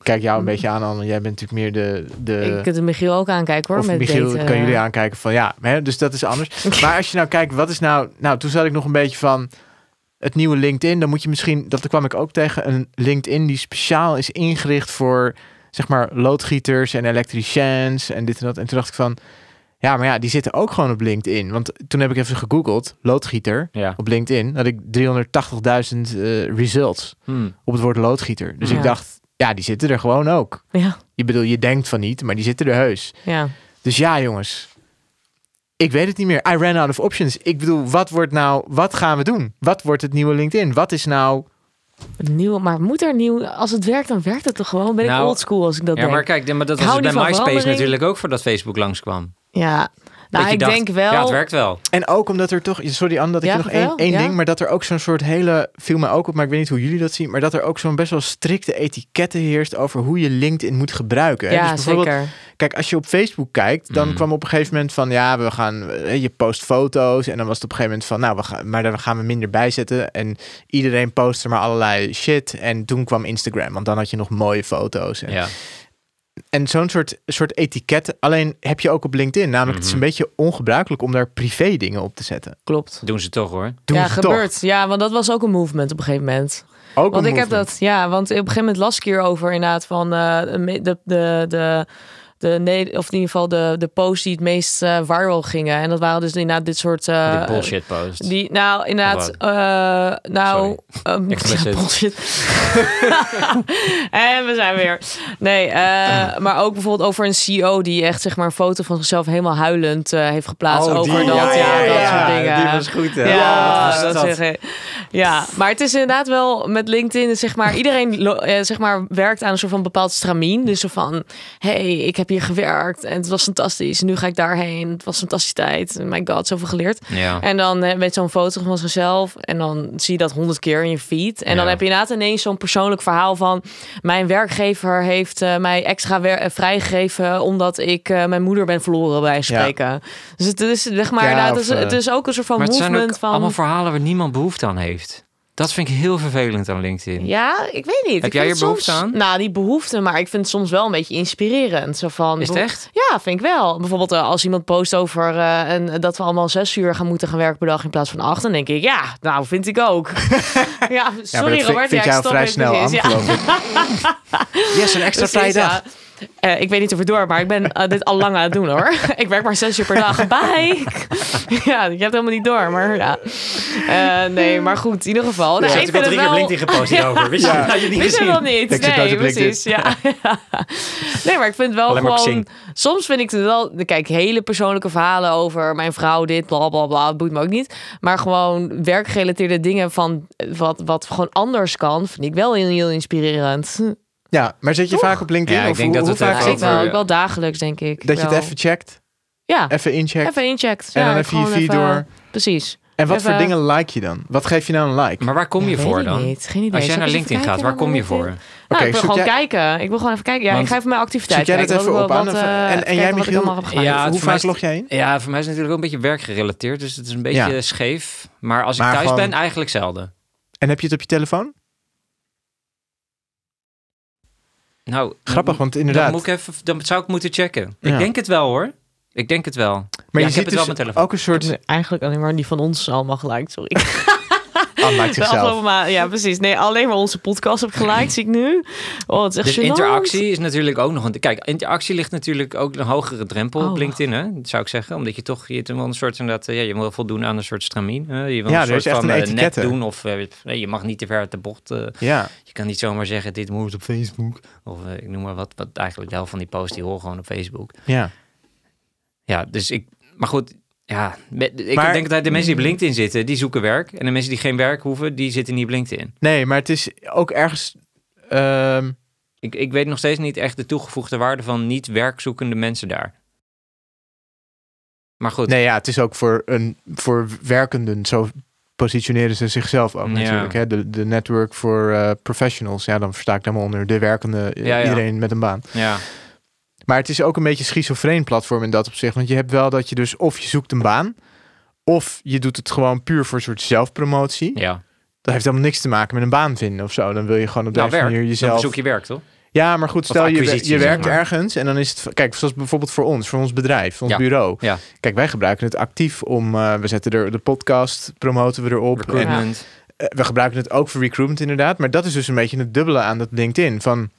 kijk jou een beetje aan Anne, jij bent natuurlijk meer de de Ik kan de Michiel ook aankijken hoor. eh, of met eh, Michiel, daten. kan jullie aankijken van ja, hè, dus dat is anders. maar als je nou kijkt, wat is nou... Nou, toen zat ik nog een beetje van het nieuwe LinkedIn. Dan moet je misschien, dat kwam ik ook tegen, een LinkedIn die speciaal is ingericht voor, zeg maar, loodgieters en elektriciens en dit en dat. En toen dacht ik van, ja, maar ja, die zitten ook gewoon op LinkedIn. Want toen heb ik even gegoogeld, loodgieter, Ja. op LinkedIn, had ik 380.000 eh, results Hmm. op het woord loodgieter. Dus Ja. ik dacht, ja, die zitten er gewoon ook. Ja, Je bedoel, je denkt van niet, maar die zitten er heus. ja. Dus ja, jongens. Ik weet het niet meer. I ran out of options. Ik bedoel, wat wordt nou, wat gaan we doen? Wat wordt het nieuwe LinkedIn? Wat is nou. Nieuw, maar moet er nieuw... Als het werkt, dan werkt het toch gewoon? Ben Nou, ik oldschool als ik dat Ja, denk. maar kijk, maar dat Ik was het hou bij niet van MySpace verandering. natuurlijk ook voordat Facebook langskwam. Ja, Dat nou, je ik dacht, denk wel... Ja, het werkt wel. En ook omdat er toch. Sorry, Anne, dat ik Ja, je nog vertel, één, één ja. ding. Maar dat er ook zo'n soort hele. Viel mij ook op, maar ik weet niet hoe jullie dat zien. Maar dat er ook zo'n best wel strikte etiketten heerst over hoe je LinkedIn moet gebruiken. hè? Ja, dus bijvoorbeeld, zeker. Kijk, als je op Facebook kijkt, dan Mm. kwam op een gegeven moment van ja, we gaan eh, je post foto's en dan was het op een gegeven moment van nou, we gaan, maar daar gaan we minder bij zetten en iedereen post er maar allerlei shit en toen kwam Instagram, want dan had je nog mooie foto's en, Ja. en zo'n soort soort etiket. Alleen heb je ook op LinkedIn, namelijk het is een Mhm. beetje ongebruikelijk om daar privé dingen op te zetten. Klopt. Doen ze toch hoor. Doen ja, ze gebeurt. Ja, want dat was ook een movement op een gegeven moment. Toch? Ook want een ik heb movement. dat, ja, want op een gegeven moment las ik hierover inderdaad van eh, de, de, de, de, de nee, of in ieder geval de, de posts die het meest eh, viral gingen. En dat waren dus inderdaad dit soort. eh, Die bullshit post. Die, nou, inderdaad. Of eh, nou, ehm, Explicit. ja, bullshit. en we zijn weer. Nee, eh, maar ook bijvoorbeeld over een CEO die echt zeg maar een foto van zichzelf helemaal huilend eh, heeft geplaatst over dat, ja, dat soort dingen. Die was goed, hè? Ja, wat was dat, dat? zeg ik. Ja, maar het is inderdaad wel met LinkedIn, dus zeg maar, iedereen lo- eh, zeg maar, werkt aan een soort van bepaald stramien. Dus zo van, hey, ik heb hier gewerkt en het was fantastisch. En nu ga ik daarheen. Het was een fantastische tijd. My god, zoveel geleerd. Ja. En dan eh, met zo'n foto van zichzelf. En dan zie je dat honderd keer in je feed. En dan Ja. heb je inderdaad ineens zo'n persoonlijk verhaal van... mijn werkgever heeft eh, mij extra wer- eh, vrijgegeven... omdat ik eh, mijn moeder ben verloren, bij wijze van Ja. spreken. Dus het is, zeg maar, Ja, inderdaad, of, het, is, het eh, is ook een soort van Maar het zijn movement ook van... allemaal verhalen waar niemand behoefte aan heeft. Dat vind ik heel vervelend aan LinkedIn. Ja, ik weet niet. Heb Ik jij hier vind het soms- behoefte aan? Nou, die behoefte, maar ik vind het soms wel een beetje inspirerend. Zo van, Is het echt? Ja, vind ik wel. Bijvoorbeeld eh, als iemand post over eh, en, dat we allemaal zes uur gaan moeten gaan werken per dag in plaats van acht, dan denk ik, ja, nou vind ik ook. ja, Ja, maar sorry dat vind- Robert, vind ja, ik jij stop vrij even snel aan, precies. Ja, geloof ik. Yes, een extra vrije precies, dag. ja. Eh, ik weet niet of het door, maar ik ben eh, dit al lang aan het doen hoor. ik werk maar zes uur per dag. Bye. ja, je hebt helemaal niet door, maar ja. Eh, nee, maar goed, in ieder geval. Nou, ik vind het wel... gepost hierover. Wist Ja. je niet Wist je wel niet? Ik zit nooit nee, op LinkedIn. precies. Ja. nee, maar ik vind het wel Alleen maar op gewoon... Soms vind ik het wel... Kijk, hele persoonlijke verhalen over mijn vrouw dit, bla bla bla. Dat boeit me ook niet. Maar gewoon werkgerelateerde dingen van eh, wat, wat gewoon anders kan... vind ik wel heel, heel inspirerend. Ja, maar zit je vaak op LinkedIn? Ja, ik Of denk hoe- dat hoe we het vaak Ja, even ik zit je? over- wel, ik wel dagelijks, denk ik. Dat je het wel. even checkt, Ja, even incheckt. even incheckt. En Ja, dan even je gewoon feed door. Precies. En wat voor Even- dingen like je dan? Wat geef je nou een like? Maar waar kom je Ja, weet voor ik dan? niet. Geen idee. Als jij Zal ik naar eens LinkedIn even gaat, waar kijken kom je naar voor? LinkedIn? Nou, ik Oké, wil zoek gewoon jij- kijken. Ik wil gewoon even kijken. Ja, Want- ik ga even mijn activiteit Zoek jij dat kijken. even wat op ik wel- aan? wat, eh, En- en kijken jij, wat ik Michiel? allemaal heb gedaan. Ja, het Hoe voor mij vaak is- log jij in? Ja, voor mij is het natuurlijk ook een beetje werkgerelateerd. Dus het is een beetje Ja. scheef. Maar als ik Maar thuis gewoon- ben, eigenlijk zelden. En heb je het op je telefoon? Nou, Grappig, want Dan, inderdaad. moet ik even, dan zou ik moeten checken. Ja. Ik denk het wel hoor. Ik denk het wel. maar ja, je ik heb ziet het wel op dus mijn telefoon. ook een soort... Eigenlijk alleen maar die van ons allemaal gelijk, sorry. Oh, Ah, Unlike De zichzelf. afgelopen maand, ja precies. Nee, alleen maar onze podcast heb ik geliked, zie ik nu. Oh, het is echt Dus gênant. interactie is natuurlijk ook nog een... Kijk, interactie ligt natuurlijk ook een hogere drempel op Oh. LinkedIn, hè? zou ik zeggen. Omdat je toch, je hebt wel een soort inderdaad... eh, Ja, je wil voldoen aan een soort stramien. hè. Je wil Ja, een er is soort echt van een eh, net etiket, hè. doen. Of eh, nee, je mag niet te ver uit de bocht. eh. Ja, je kan niet zomaar zeggen, dit moet op Facebook. Of eh, ik noem maar wat. Wat eigenlijk de helft van die posts, die horen gewoon op Facebook. ja. Ja, dus ik... Maar goed... Ja, met- ik Maar- denk dat de mensen die op LinkedIn zitten, die zoeken werk. En de mensen die geen werk hoeven, die zitten niet op LinkedIn. Nee, maar het is ook ergens... ehm, Ik, ik weet nog steeds niet echt de toegevoegde waarde van niet werkzoekende mensen daar. Maar goed, nee, ja, het is ook voor, een, voor werkenden. Zo positioneren ze zichzelf ook Ja. natuurlijk. Hè? De, de network voor eh, professionals. Ja, dan versta ik daar maar onder. De werkende, eh, Ja, ja. iedereen met een baan. ja. Maar het is ook een beetje een schizofreen platform in dat opzicht. Want je hebt wel dat je dus of je zoekt een baan... of je doet het gewoon puur voor een soort zelfpromotie. ja. Dat heeft helemaal niks te maken met een baan vinden of zo. Dan wil je gewoon op Nou, deze werk. manier Dan jezelf... zoek je werk, toch? Ja, maar goed, Of stel je, wer- acquisitie, je zeg werkt maar. ergens en dan is het... Kijk, zoals bijvoorbeeld voor ons, voor ons bedrijf, voor ons Ja, bureau. ja. Kijk, wij gebruiken het actief om... eh, we zetten er de podcast, promoten we erop. En, Recruitment. eh, we gebruiken het ook voor recruitment inderdaad. Maar dat is dus een beetje het dubbele aan dat LinkedIn. Van,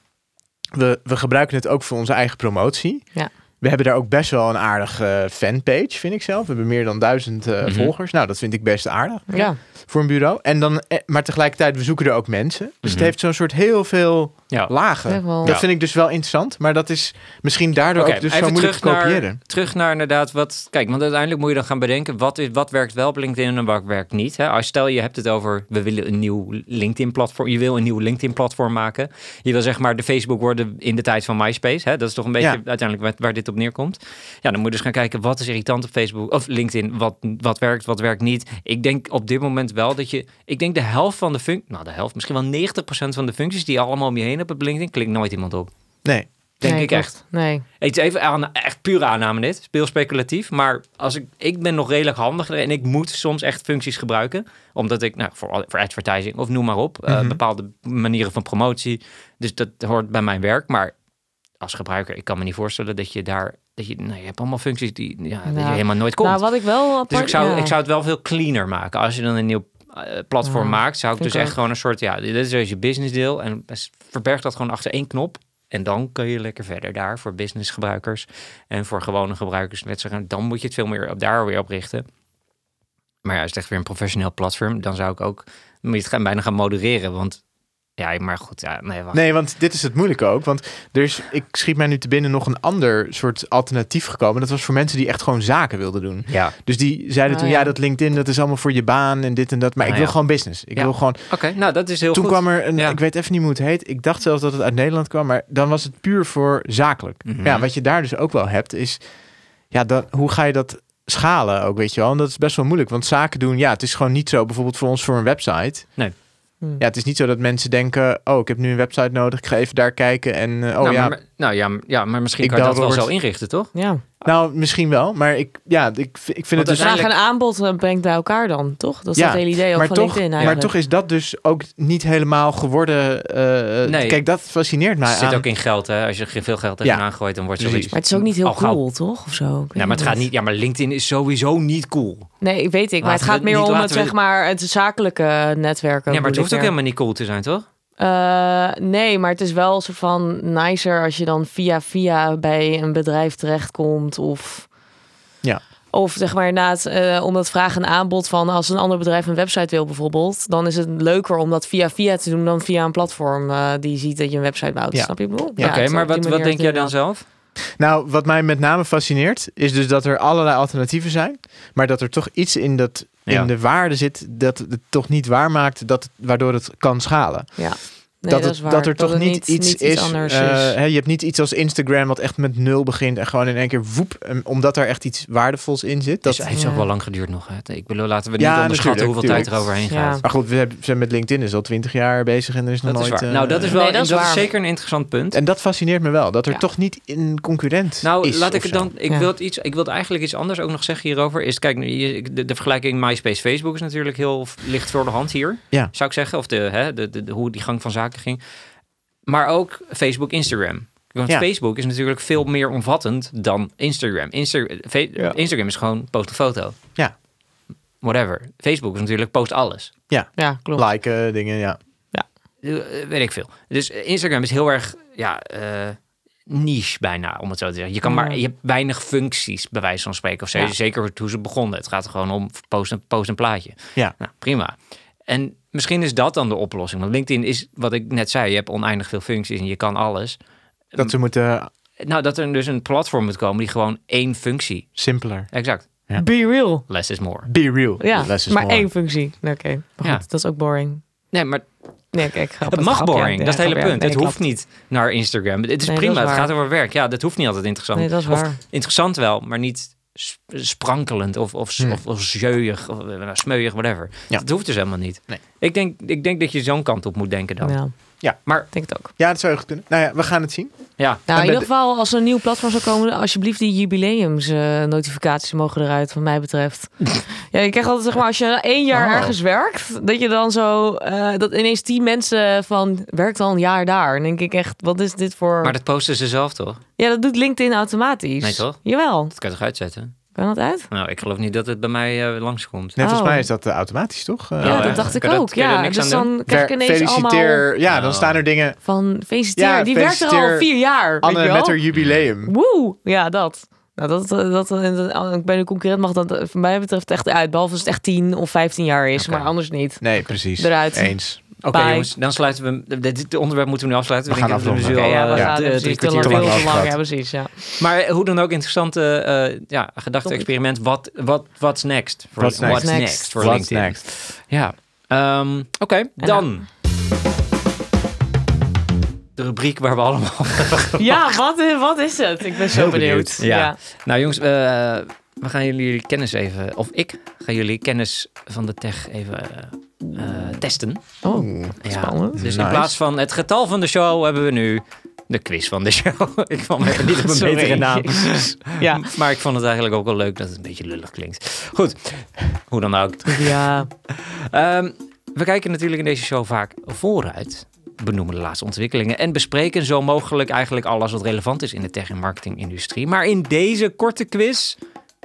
we, we gebruiken het ook voor onze eigen promotie. Ja. We hebben daar ook best wel een aardige eh, fanpage, vind ik zelf. We hebben meer dan duizend eh, Mhm. volgers. Nou, dat vind ik best aardig Ja, voor een bureau. En dan, eh, maar tegelijkertijd, we zoeken er ook mensen. Dus het Mhm. heeft zo'n soort heel veel Ja. lagen. echt wel. Dat Ja. vind ik dus wel interessant. Maar dat is misschien daardoor Oké, ook dus zo even moeilijk terug te naar, kopiëren. terug naar inderdaad wat... Kijk, want uiteindelijk moet je dan gaan bedenken... wat, is, wat werkt wel op LinkedIn en wat werkt niet. Hè? Als stel je hebt het over... we willen een nieuw LinkedIn-platform... je wil een nieuw LinkedIn-platform maken. Je wil zeg maar de Facebook worden in de tijd van MySpace. Hè? Dat is toch een beetje Ja. uiteindelijk waar, waar dit op neerkomt. Ja, dan moet je dus gaan kijken... wat is irritant op Facebook of LinkedIn? Wat, wat werkt, wat werkt niet? Ik denk op dit moment wel dat je... Ik denk de helft van de functies... nou, de helft, misschien wel 90% van de functies... die je allemaal om je heen hebt op LinkedIn... klikt nooit iemand op. Nee. Denk Nee, ik klopt. echt. Nee. Het is even aan, echt pure aanname dit. Speel speculatief. Maar als ik, ik ben nog redelijk handig en ik moet soms echt functies gebruiken. Omdat ik, nou, voor, voor advertising of noem maar op. eh, Mhm. bepaalde manieren van promotie. Dus dat hoort bij mijn werk. Maar als gebruiker, ik kan me niet voorstellen dat je daar... Dat je, nou, je hebt allemaal functies die, ja, dat je Nou, helemaal nooit komt. Nou, wat ik wel apart... dus ik zou, ja. ik zou het wel veel cleaner maken. Als je dan een nieuw eh, platform Ja, maakt, zou ik vind dus ik echt ook. gewoon een soort... Ja, dit is dus je business deel. En verberg dat gewoon achter één knop. En dan kun je lekker verder daar voor business gebruikers. En voor gewone gebruikers met zeggen, dan moet je het veel meer op daar weer op richten. Maar ja, is het echt weer een professioneel platform, dan zou ik ook moet je het gaan, bijna gaan modereren. Want ja, maar goed, ja, nee, wacht. Nee, want dit is het moeilijke ook. Want er is, ik schiet mij nu te binnen nog een ander soort alternatief gekomen. Dat was voor mensen die echt gewoon zaken wilden doen. Ja, Dus die zeiden Oh, toen, ja. ja. dat LinkedIn, dat is allemaal voor je baan en dit en dat. Maar Nou ik wil ja. gewoon business. Ik Ja. wil gewoon... oké, nou dat is heel Toen goed. kwam er een, Ja. ik weet even niet hoe het heet. Ik dacht zelfs dat het uit Nederland kwam, maar dan was het puur voor zakelijk. Mhm. Ja, wat je daar dus ook wel hebt, is... Ja, dan, hoe ga je dat schalen ook, weet je wel? En dat is best wel moeilijk, want zaken doen... Ja, het is gewoon niet zo, bijvoorbeeld voor ons voor een website. Hm. Ja, het is niet zo dat mensen denken... Oh, ik heb nu een website nodig, ik ga even daar kijken en... eh, oh nou, ja, maar, nou ja, maar- ja, maar misschien Ik kan je dat bel wel Robert. zo inrichten, toch? Ja. nou, misschien wel, maar ik, ja, ik, ik vind het dat dus... is Vraag Uiteindelijk- en aanbod eh, brengt bij elkaar dan, toch? Dat is Ja, dat hele idee ook maar van toch, LinkedIn maar eigenlijk. toch is dat dus ook niet helemaal geworden. eh, Nee. Kijk, dat fascineert mij. Het zit Nou, aan- ook in geld, hè? Als je ge- veel geld tegenaan gooit, dan wordt Precies. zoiets. Maar het is ook niet heel Al Oh, gauw- cool, toch? Of zo? Ik weet Ja, maar het gaat niet. Ja, maar LinkedIn is sowieso niet cool. Nee, ik weet ik. Laten Maar het we gaat het meer niet- om het, laten we- zeg maar, het zakelijke netwerk. Ja, ook, maar het hoeft bedoel ik ook meer. helemaal niet cool te zijn, toch? Eh, nee, maar het is wel een soort van nicer als je dan via via bij een bedrijf terechtkomt of... Ja. Of zeg maar inderdaad, eh omdat vraag en aanbod van als een ander bedrijf een website wil bijvoorbeeld, dan is het leuker om dat via via te doen dan via een platform eh, die ziet dat je een website bouwt. Ja. Snap je wat ik bedoel? Ja, Oké, het is maar op die wat, wat manier denk jij dan inderdaad. zelf? Nou, wat mij met name fascineert, is dus dat er allerlei alternatieven zijn. Maar dat er toch iets in, dat, Ja. in de waarde zit dat het toch niet waar maakt, dat, het- waardoor het kan schalen. Nee, dat, het, is waar. dat er toch het niet, iets is. anders eh, is. hè, je hebt niet iets als Instagram wat echt met nul begint en gewoon in één keer woep, em, omdat daar echt iets waardevols in zit. Dat Dat, heeft Ja. ook wel lang geduurd nog. Hè? Ik bedoel, laten we niet Ja, onderschatten natuurlijk, hoeveel tijd er tuurlijk. overheen Ja. gaat. Maar goed, we hebben- we zijn met LinkedIn is al twintig jaar bezig en er is nog Dat is nooit. waar. eh, nou, dat is wel Nee, dat is dat is waar. zeker een interessant punt. En dat fascineert me wel, dat er Ja. toch niet een concurrent Nou, is. laat ik of het zo. dan. Ik Ja. wil het iets. Ik wil het eigenlijk iets anders ook nog zeggen hierover. Is kijk, nu, je- de, de vergelijking MySpace Facebook is natuurlijk heel f- licht voor de hand hier. Ja. Zou ik zeggen, of de, hè, de, de, de- hoe die gang van zaken ging. Maar ook Facebook, Instagram. Want Ja. Facebook is natuurlijk veel meer omvattend dan Instagram. Insta Fe- Ja. Instagram is gewoon post een foto. Ja. whatever. Facebook is natuurlijk post alles. Ja, klopt. Liken, dingen, ja. Eh, weet ik veel. Dus eh, Instagram is heel erg ja, eh, niche bijna, om het zo te zeggen. Je, kan maar, Ja. je hebt weinig functies, bij wijze van spreken. Of zo. Ja. Zeker hoe ze begonnen. Het gaat er gewoon om post een, post een plaatje. Ja. Nou, prima. En misschien is dat dan de oplossing. Want LinkedIn is, wat ik net zei, je hebt oneindig veel functies en je kan alles. Ehm, Dat ze moeten Nou, dat er dus een platform moet komen die gewoon één functie. simpeler. Exact. Ja. Be real. Less is more. Be real. Ja, Less is maar more. één functie. Nee, Oké, maar Ja. goed, dat is ook boring. Nee, maar Nee, kijk, grappig. het mag grapje. boring. Ja, dat is het hele grapje. punt. Nee, het hoeft klopt. niet naar Instagram. Het is Nee, dat prima. is het waar. gaat over werk. Ja, dat hoeft niet altijd interessant. Nee, dat is Of waar. interessant wel, maar niet sp- sprankelend of, of, Hmm. of, of zeuig of eh, smeuig, whatever. Ja. Dat hoeft dus helemaal niet. Nee. Ik, denk, ik denk dat je zo'n kant op moet denken dan. Ja. Ja, ik Maar denk het ook. Ja, dat zou heel goed kunnen. Nou ja, we gaan het zien. Nou, En in met- ieder geval, als er een nieuw platform zou komen, alsjeblieft die jubileums eh, notificaties mogen eruit, wat mij betreft. ja, je krijgt altijd, zeg maar, als je één jaar Oh. ergens werkt, dat je dan zo, eh, dat ineens tien mensen van, werkt al een jaar daar. En denk ik echt, wat is dit voor... Maar dat posten ze zelf toch? Ja, dat doet LinkedIn automatisch. Nee, toch? Jawel. Dat kan je toch uitzetten? Kan dat uit? Nou, ik geloof niet dat het bij mij eh langskomt. Nee, volgens Oh. mij is dat eh, automatisch, toch? Eh, ja, echt? dat dacht ik Kan dat- ook. kun je er ja, niks dus aan doen? dan krijg ik ver- ineens feliciteer. allemaal Ja, dan Oh. staan er dingen. van feliciteer. Ja, die werkt er al feliciteer vier jaar. weet je Anne wel? met haar jubileum. Woe! Ja, dat. Nou, dat, dat, dat, bij de concurrent mag dat eh, voor mij betreft echt uit. Behalve als het echt 10 of 15 jaar is, Oké. maar anders niet. Nee, precies. Eruit. Eens. Oké Bye. jongens, dan sluiten we... hem. Dit dit onderwerp moeten we nu afsluiten. We Ik gaan denk dat afronden. nu Oké, al, ja, we eh, ja, gaan drie eh, precies te kwartier lang, te lang veel te lang. afgepraat. Ja, precies. Ja. Maar hoe dan ook, interessante eh, ja, gedachte-experiment. Wat wat what's next? Voor- What's next? What's What's next voor What's LinkedIn? next? Ja. Ehm, Oké, dan. De rubriek waar we allemaal... ja wat, eh, wat is het? Ik ben zo Heel benieuwd. benieuwd. Ja. Nou jongens, eh, we gaan jullie kennis even... Of ik ga jullie kennis van de tech even eh, eh, testen. Oh, spannend. Dus in Nice. plaats van het getal van de show hebben we nu... De quiz van de show. Ik kwam even niet op een Sorry. betere naam. Ja. Maar ik vond het eigenlijk ook wel leuk dat het een beetje lullig klinkt. Goed, hoe dan ook. ja. Ehm, we kijken natuurlijk in deze show vaak vooruit, benoemen de laatste ontwikkelingen en bespreken zo mogelijk eigenlijk alles wat relevant is in de tech- en marketingindustrie. Maar in deze korte quiz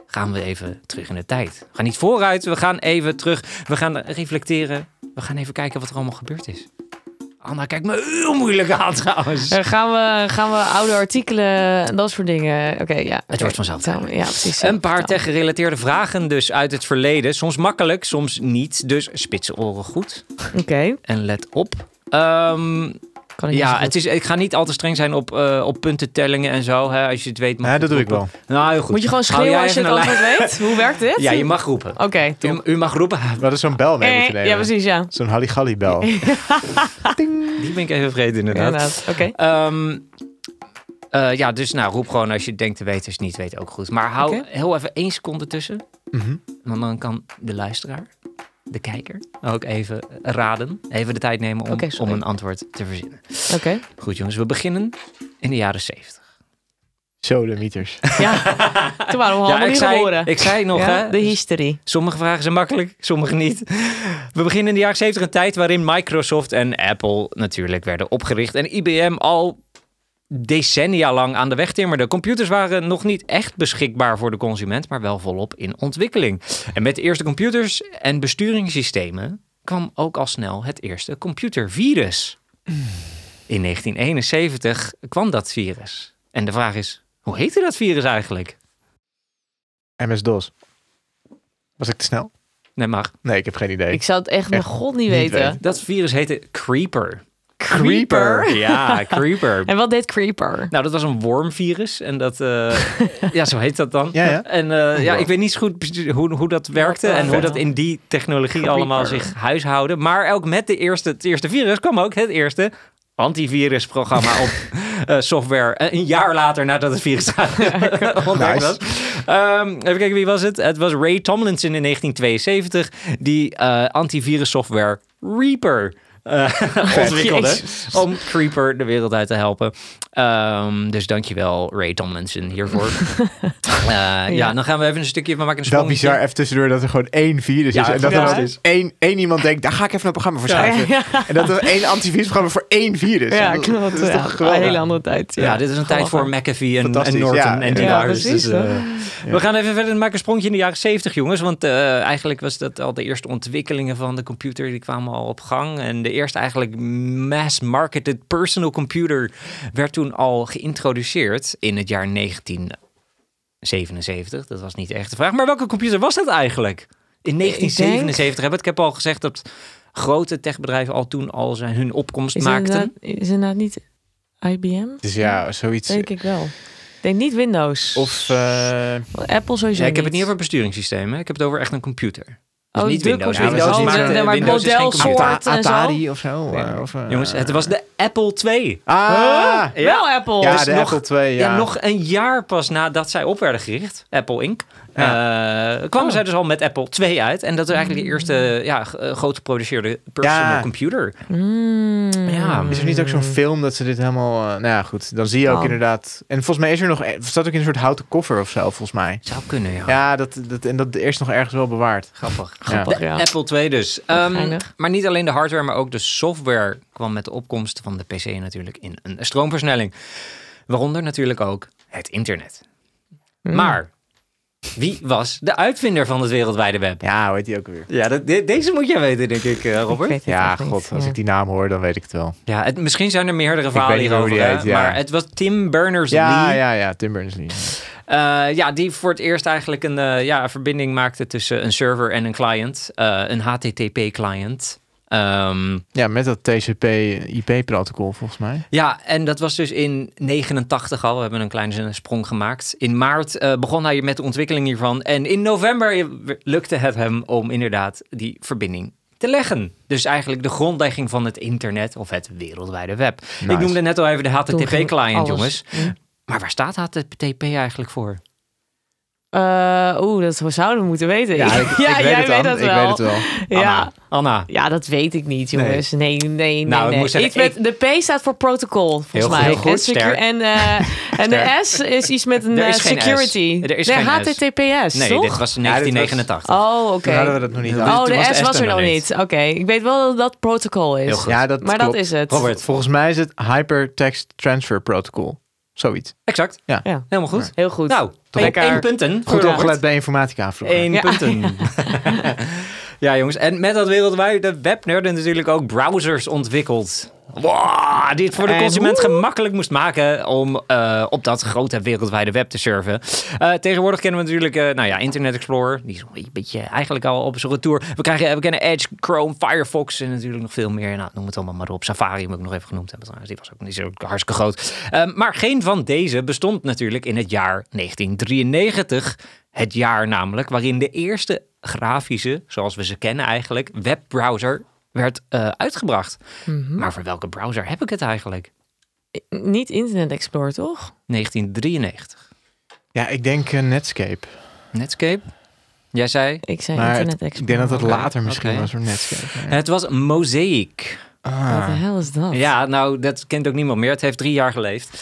gaan we even terug in de tijd. We gaan niet vooruit, we gaan even terug, we gaan reflecteren, we gaan even kijken wat er allemaal gebeurd is. Anna kijkt me heel moeilijk aan trouwens. Eh, gaan, we, gaan we oude artikelen en dat soort dingen. Oké, ja. oké. wordt vanzelf Vertel me. Ja, precies. Een paar Vertel. tech-gerelateerde vragen dus uit het verleden. Soms makkelijk, soms niet. Dus spitse oren goed Oké, en let op. Ehm, kan ik Ja, niet zo het is, ik ga niet al te streng zijn op, eh op puntentellingen en zo. Hè, als je het weet. mag Ja, je dat doe het ik wel. roepen. Nou, heel goed. goed. Moet je gewoon Hou schreeuwen jij als je even het een antwoord weet? Hoe werkt dit? lijn? Ja, je mag roepen. Oké, top. U, u mag roepen. Ah, We hadden zo'n bel mee Eh, moeten nemen. ja, precies, ja. Zo'n halligalli-bel. Die ben ik even vergeten, Ja, inderdaad. inderdaad. Oké. Ehm, eh, ja, dus nou, roep gewoon als je het denkt te weten. Als je het niet weet, ook goed. Maar hou Oké. heel even één seconde tussen. Mhm. Want dan kan de luisteraar, de kijker, ook even raden. Even de tijd nemen om, Oké, sorry. om een antwoord te verzinnen. Oké. Goed, jongens. We beginnen in de jaren zeventig. Zo de mieters. Ja. Toen waren we allemaal ik niet zei, geboren. ik zei nog, Ja, hè? De history. Sommige vragen zijn makkelijk, sommige niet. We beginnen in de jaren 70 een tijd waarin Microsoft en Apple natuurlijk werden opgericht. En IBM al decennia lang aan de weg timmerde. Computers waren nog niet echt beschikbaar voor de consument, maar wel volop in ontwikkeling. En met de eerste computers en besturingssystemen kwam ook al snel het eerste computervirus. In 1971 kwam dat virus. En de vraag is, hoe heette dat virus eigenlijk? MS-DOS. Was ik te snel? Nee, maar Nee, ik heb geen idee. Ik zou het echt mijn Echt god niet niet weten. weten. dat virus heette Creeper. Creeper. Ja, Creeper. En wat deed Creeper? Nou, dat was een wormvirus en dat, eh, ja, zo heet dat dan. Ja, ja. En eh, ja, ik weet niet zo goed precies hoe, hoe dat werkte en hoe dat in die technologie allemaal Creeper. zich huishouden. Maar ook met de eerste, het eerste virus kwam ook het eerste antivirusprogramma op eh, software. Eh, Een jaar later nadat het virus ontdekt was. Ehm, even kijken, wie was het? Het was Ray Tomlinson in 1972 die eh antivirussoftware Reaper eh, ontwikkelde Jezus. om Creeper de wereld uit te helpen. Ehm dus dankjewel Ray Tomlinson hiervoor. Eh, ja. Ja. dan gaan we even een stukje, we maken een Wel sprongetje. bizar, even tussendoor, dat er gewoon één virus Ja, is. En het dat is er waar. dan één, één iemand denkt, daar ga ik even een programma voor Ja. schrijven. En dat er één antivirusprogramma voor één virus. Ja, Dat- klopt. Dat is ja. toch een geweldig. hele andere tijd. Ja, dit is een tijd voor McAfee en, en Fantastisch, Norton ja. en die Ja, daar. Dus, precies, eh, We gaan even verder maken een sprongje in de jaren 70, jongens. Want eh, eigenlijk was dat al de eerste ontwikkelingen van de computer. Die kwamen al op gang. En de eerste eigenlijk mass-marketed personal computer werd toen al geïntroduceerd in het jaar 1977. Dat was niet echt de vraag. Maar welke computer was dat eigenlijk? Eh, In 1977 hebben we het. Ik heb al gezegd dat grote techbedrijven al toen al zijn, hun opkomst Is maakten. inderdaad, is inderdaad niet IBM? Dus ja, zoiets. Denk ik wel. Ik denk niet Windows. Of eh, Apple sowieso Ja, ik heb het niet over besturingssystemen. Ik heb het over echt een computer. Dus Oh, niet de Windows. computer. Windows Oh, maakt- de- eh, maar Windows is geen modelsoort. computer. Ata- en zo. Atari of zo. eh, of, eh, Jongens, het was de Apple II. Ah, Ja. Wel Apple. ja, Dus de nog- Apple II, Ja. ja. nog een jaar pas nadat zij op werden gericht, Apple Inc., eh, kwamen Oh. zij dus al met Apple II uit. En dat is eigenlijk de Mm. eerste ja, g- eh, groot geproduceerde personal Ja. computer. Mm. Ja. Is er niet ook zo'n film dat ze dit helemaal... eh, nou ja, goed. Dan zie je ook Oh. inderdaad... En volgens mij is er nog... e- Er staat ook in een soort houten koffer of zo, volgens mij. Zou kunnen, ja. Ja, dat, dat, en dat is nog ergens wel bewaard. Grappig. Grappig, De ja. Apple II dus. Ehm, Geinig. maar niet alleen de hardware, maar ook de software kwam met de opkomst van de PC natuurlijk in een stroomversnelling. Waaronder natuurlijk ook het internet. Mm. Maar wie was de uitvinder van het wereldwijde web? Ja, hoe heet die ook weer? Ja, dat- de- deze moet jij weten, denk ik, eh, Ik Robert. weet het Ja, echt niet. god. Als Ja. ik die naam hoor, dan weet ik het wel. Ja, het, misschien zijn er meerdere weet verhalen niet hoe hierover. die hè, heet, ja. Maar het was Tim Berners-Lee. Ja, Ja, ja, ja. Tim Berners-Lee. ja, die voor het eerst eigenlijk een eh, ja, een verbinding maakte tussen een server en een client. eh, een HTTP-client. Ehm, Ja, met dat TCP-IP-protocol volgens mij. ja, en dat was dus in 89 al. We hebben een kleine sprong gemaakt. In maart eh, begon hij met de ontwikkeling hiervan. En in november lukte het hem om inderdaad die verbinding te leggen. Dus eigenlijk de grondlegging van het internet of het wereldwijde web. Ik Nice. noemde net al even de Toen ging HTTP-client, alles. jongens. Mm. Maar waar staat HTTP eigenlijk voor? Eh, Oeh, dat zouden we moeten weten. Ja, ik, ik weet jij het weet dan. dat ik wel. weet het wel. Ja. Anna. ja, dat weet ik niet, jongens. Nee, nee, nee. Nou, ik nee. moet zeggen, Iets met, De P staat voor protocol, volgens Heel goed, mij. heel goed, En, secu- sterk. en, eh, en de S is iets met een Er is eh, geen S. security. Er is nee, geen S. HTTPS, Nee, toch? dit was Ja, dit was- 1989. Oh, oké. Toen hadden we dat nog niet Oh, aan. Oh, Toen was de S was er nog niet. Oké, ik weet wel dat dat protocol Heel is. goed. Ja, dat Maar dat klopt. is het. Robert. Volgens mij is het Hypertext Transfer Protocol. Zoiets. Exact. Ja. Ja. Helemaal goed. Heel goed. Nou, één, Lekker. één punten. Goed voor opgelet bij informatica vroeger. Eén Ja. punten. ja, jongens. En met dat wereldwijde web werden natuurlijk ook browsers ontwikkeld. Wow, die het voor de En consument gemakkelijk moest maken om eh, op dat grote wereldwijde web te surfen. Eh, tegenwoordig kennen we natuurlijk eh, nou ja, Internet Explorer. Die is nog een beetje eigenlijk al op zijn retour. We, krijgen, we kennen Edge, Chrome, Firefox en natuurlijk nog veel meer. Nou, noem het allemaal maar op. Safari moet ik nog even genoemd hebben trouwens. Die was ook niet zo hartstikke groot. Eh, maar geen van deze bestond natuurlijk in het jaar 1993. Het jaar namelijk waarin de eerste grafische, zoals we ze kennen eigenlijk, webbrowser werd eh, uitgebracht. Maar voor welke browser heb ik het eigenlijk? Niet Internet Explorer, toch? 1993. Ja, ik denk eh, Netscape. Netscape? Jij zei? Ik zei Maar Internet het- Explorer. ik denk dat dat Oké, later misschien oké. was voor Netscape. maar- Het was Mosaic. Wat de hel is dat? Ja, nou, dat kent ook niemand meer. Het heeft drie jaar geleefd.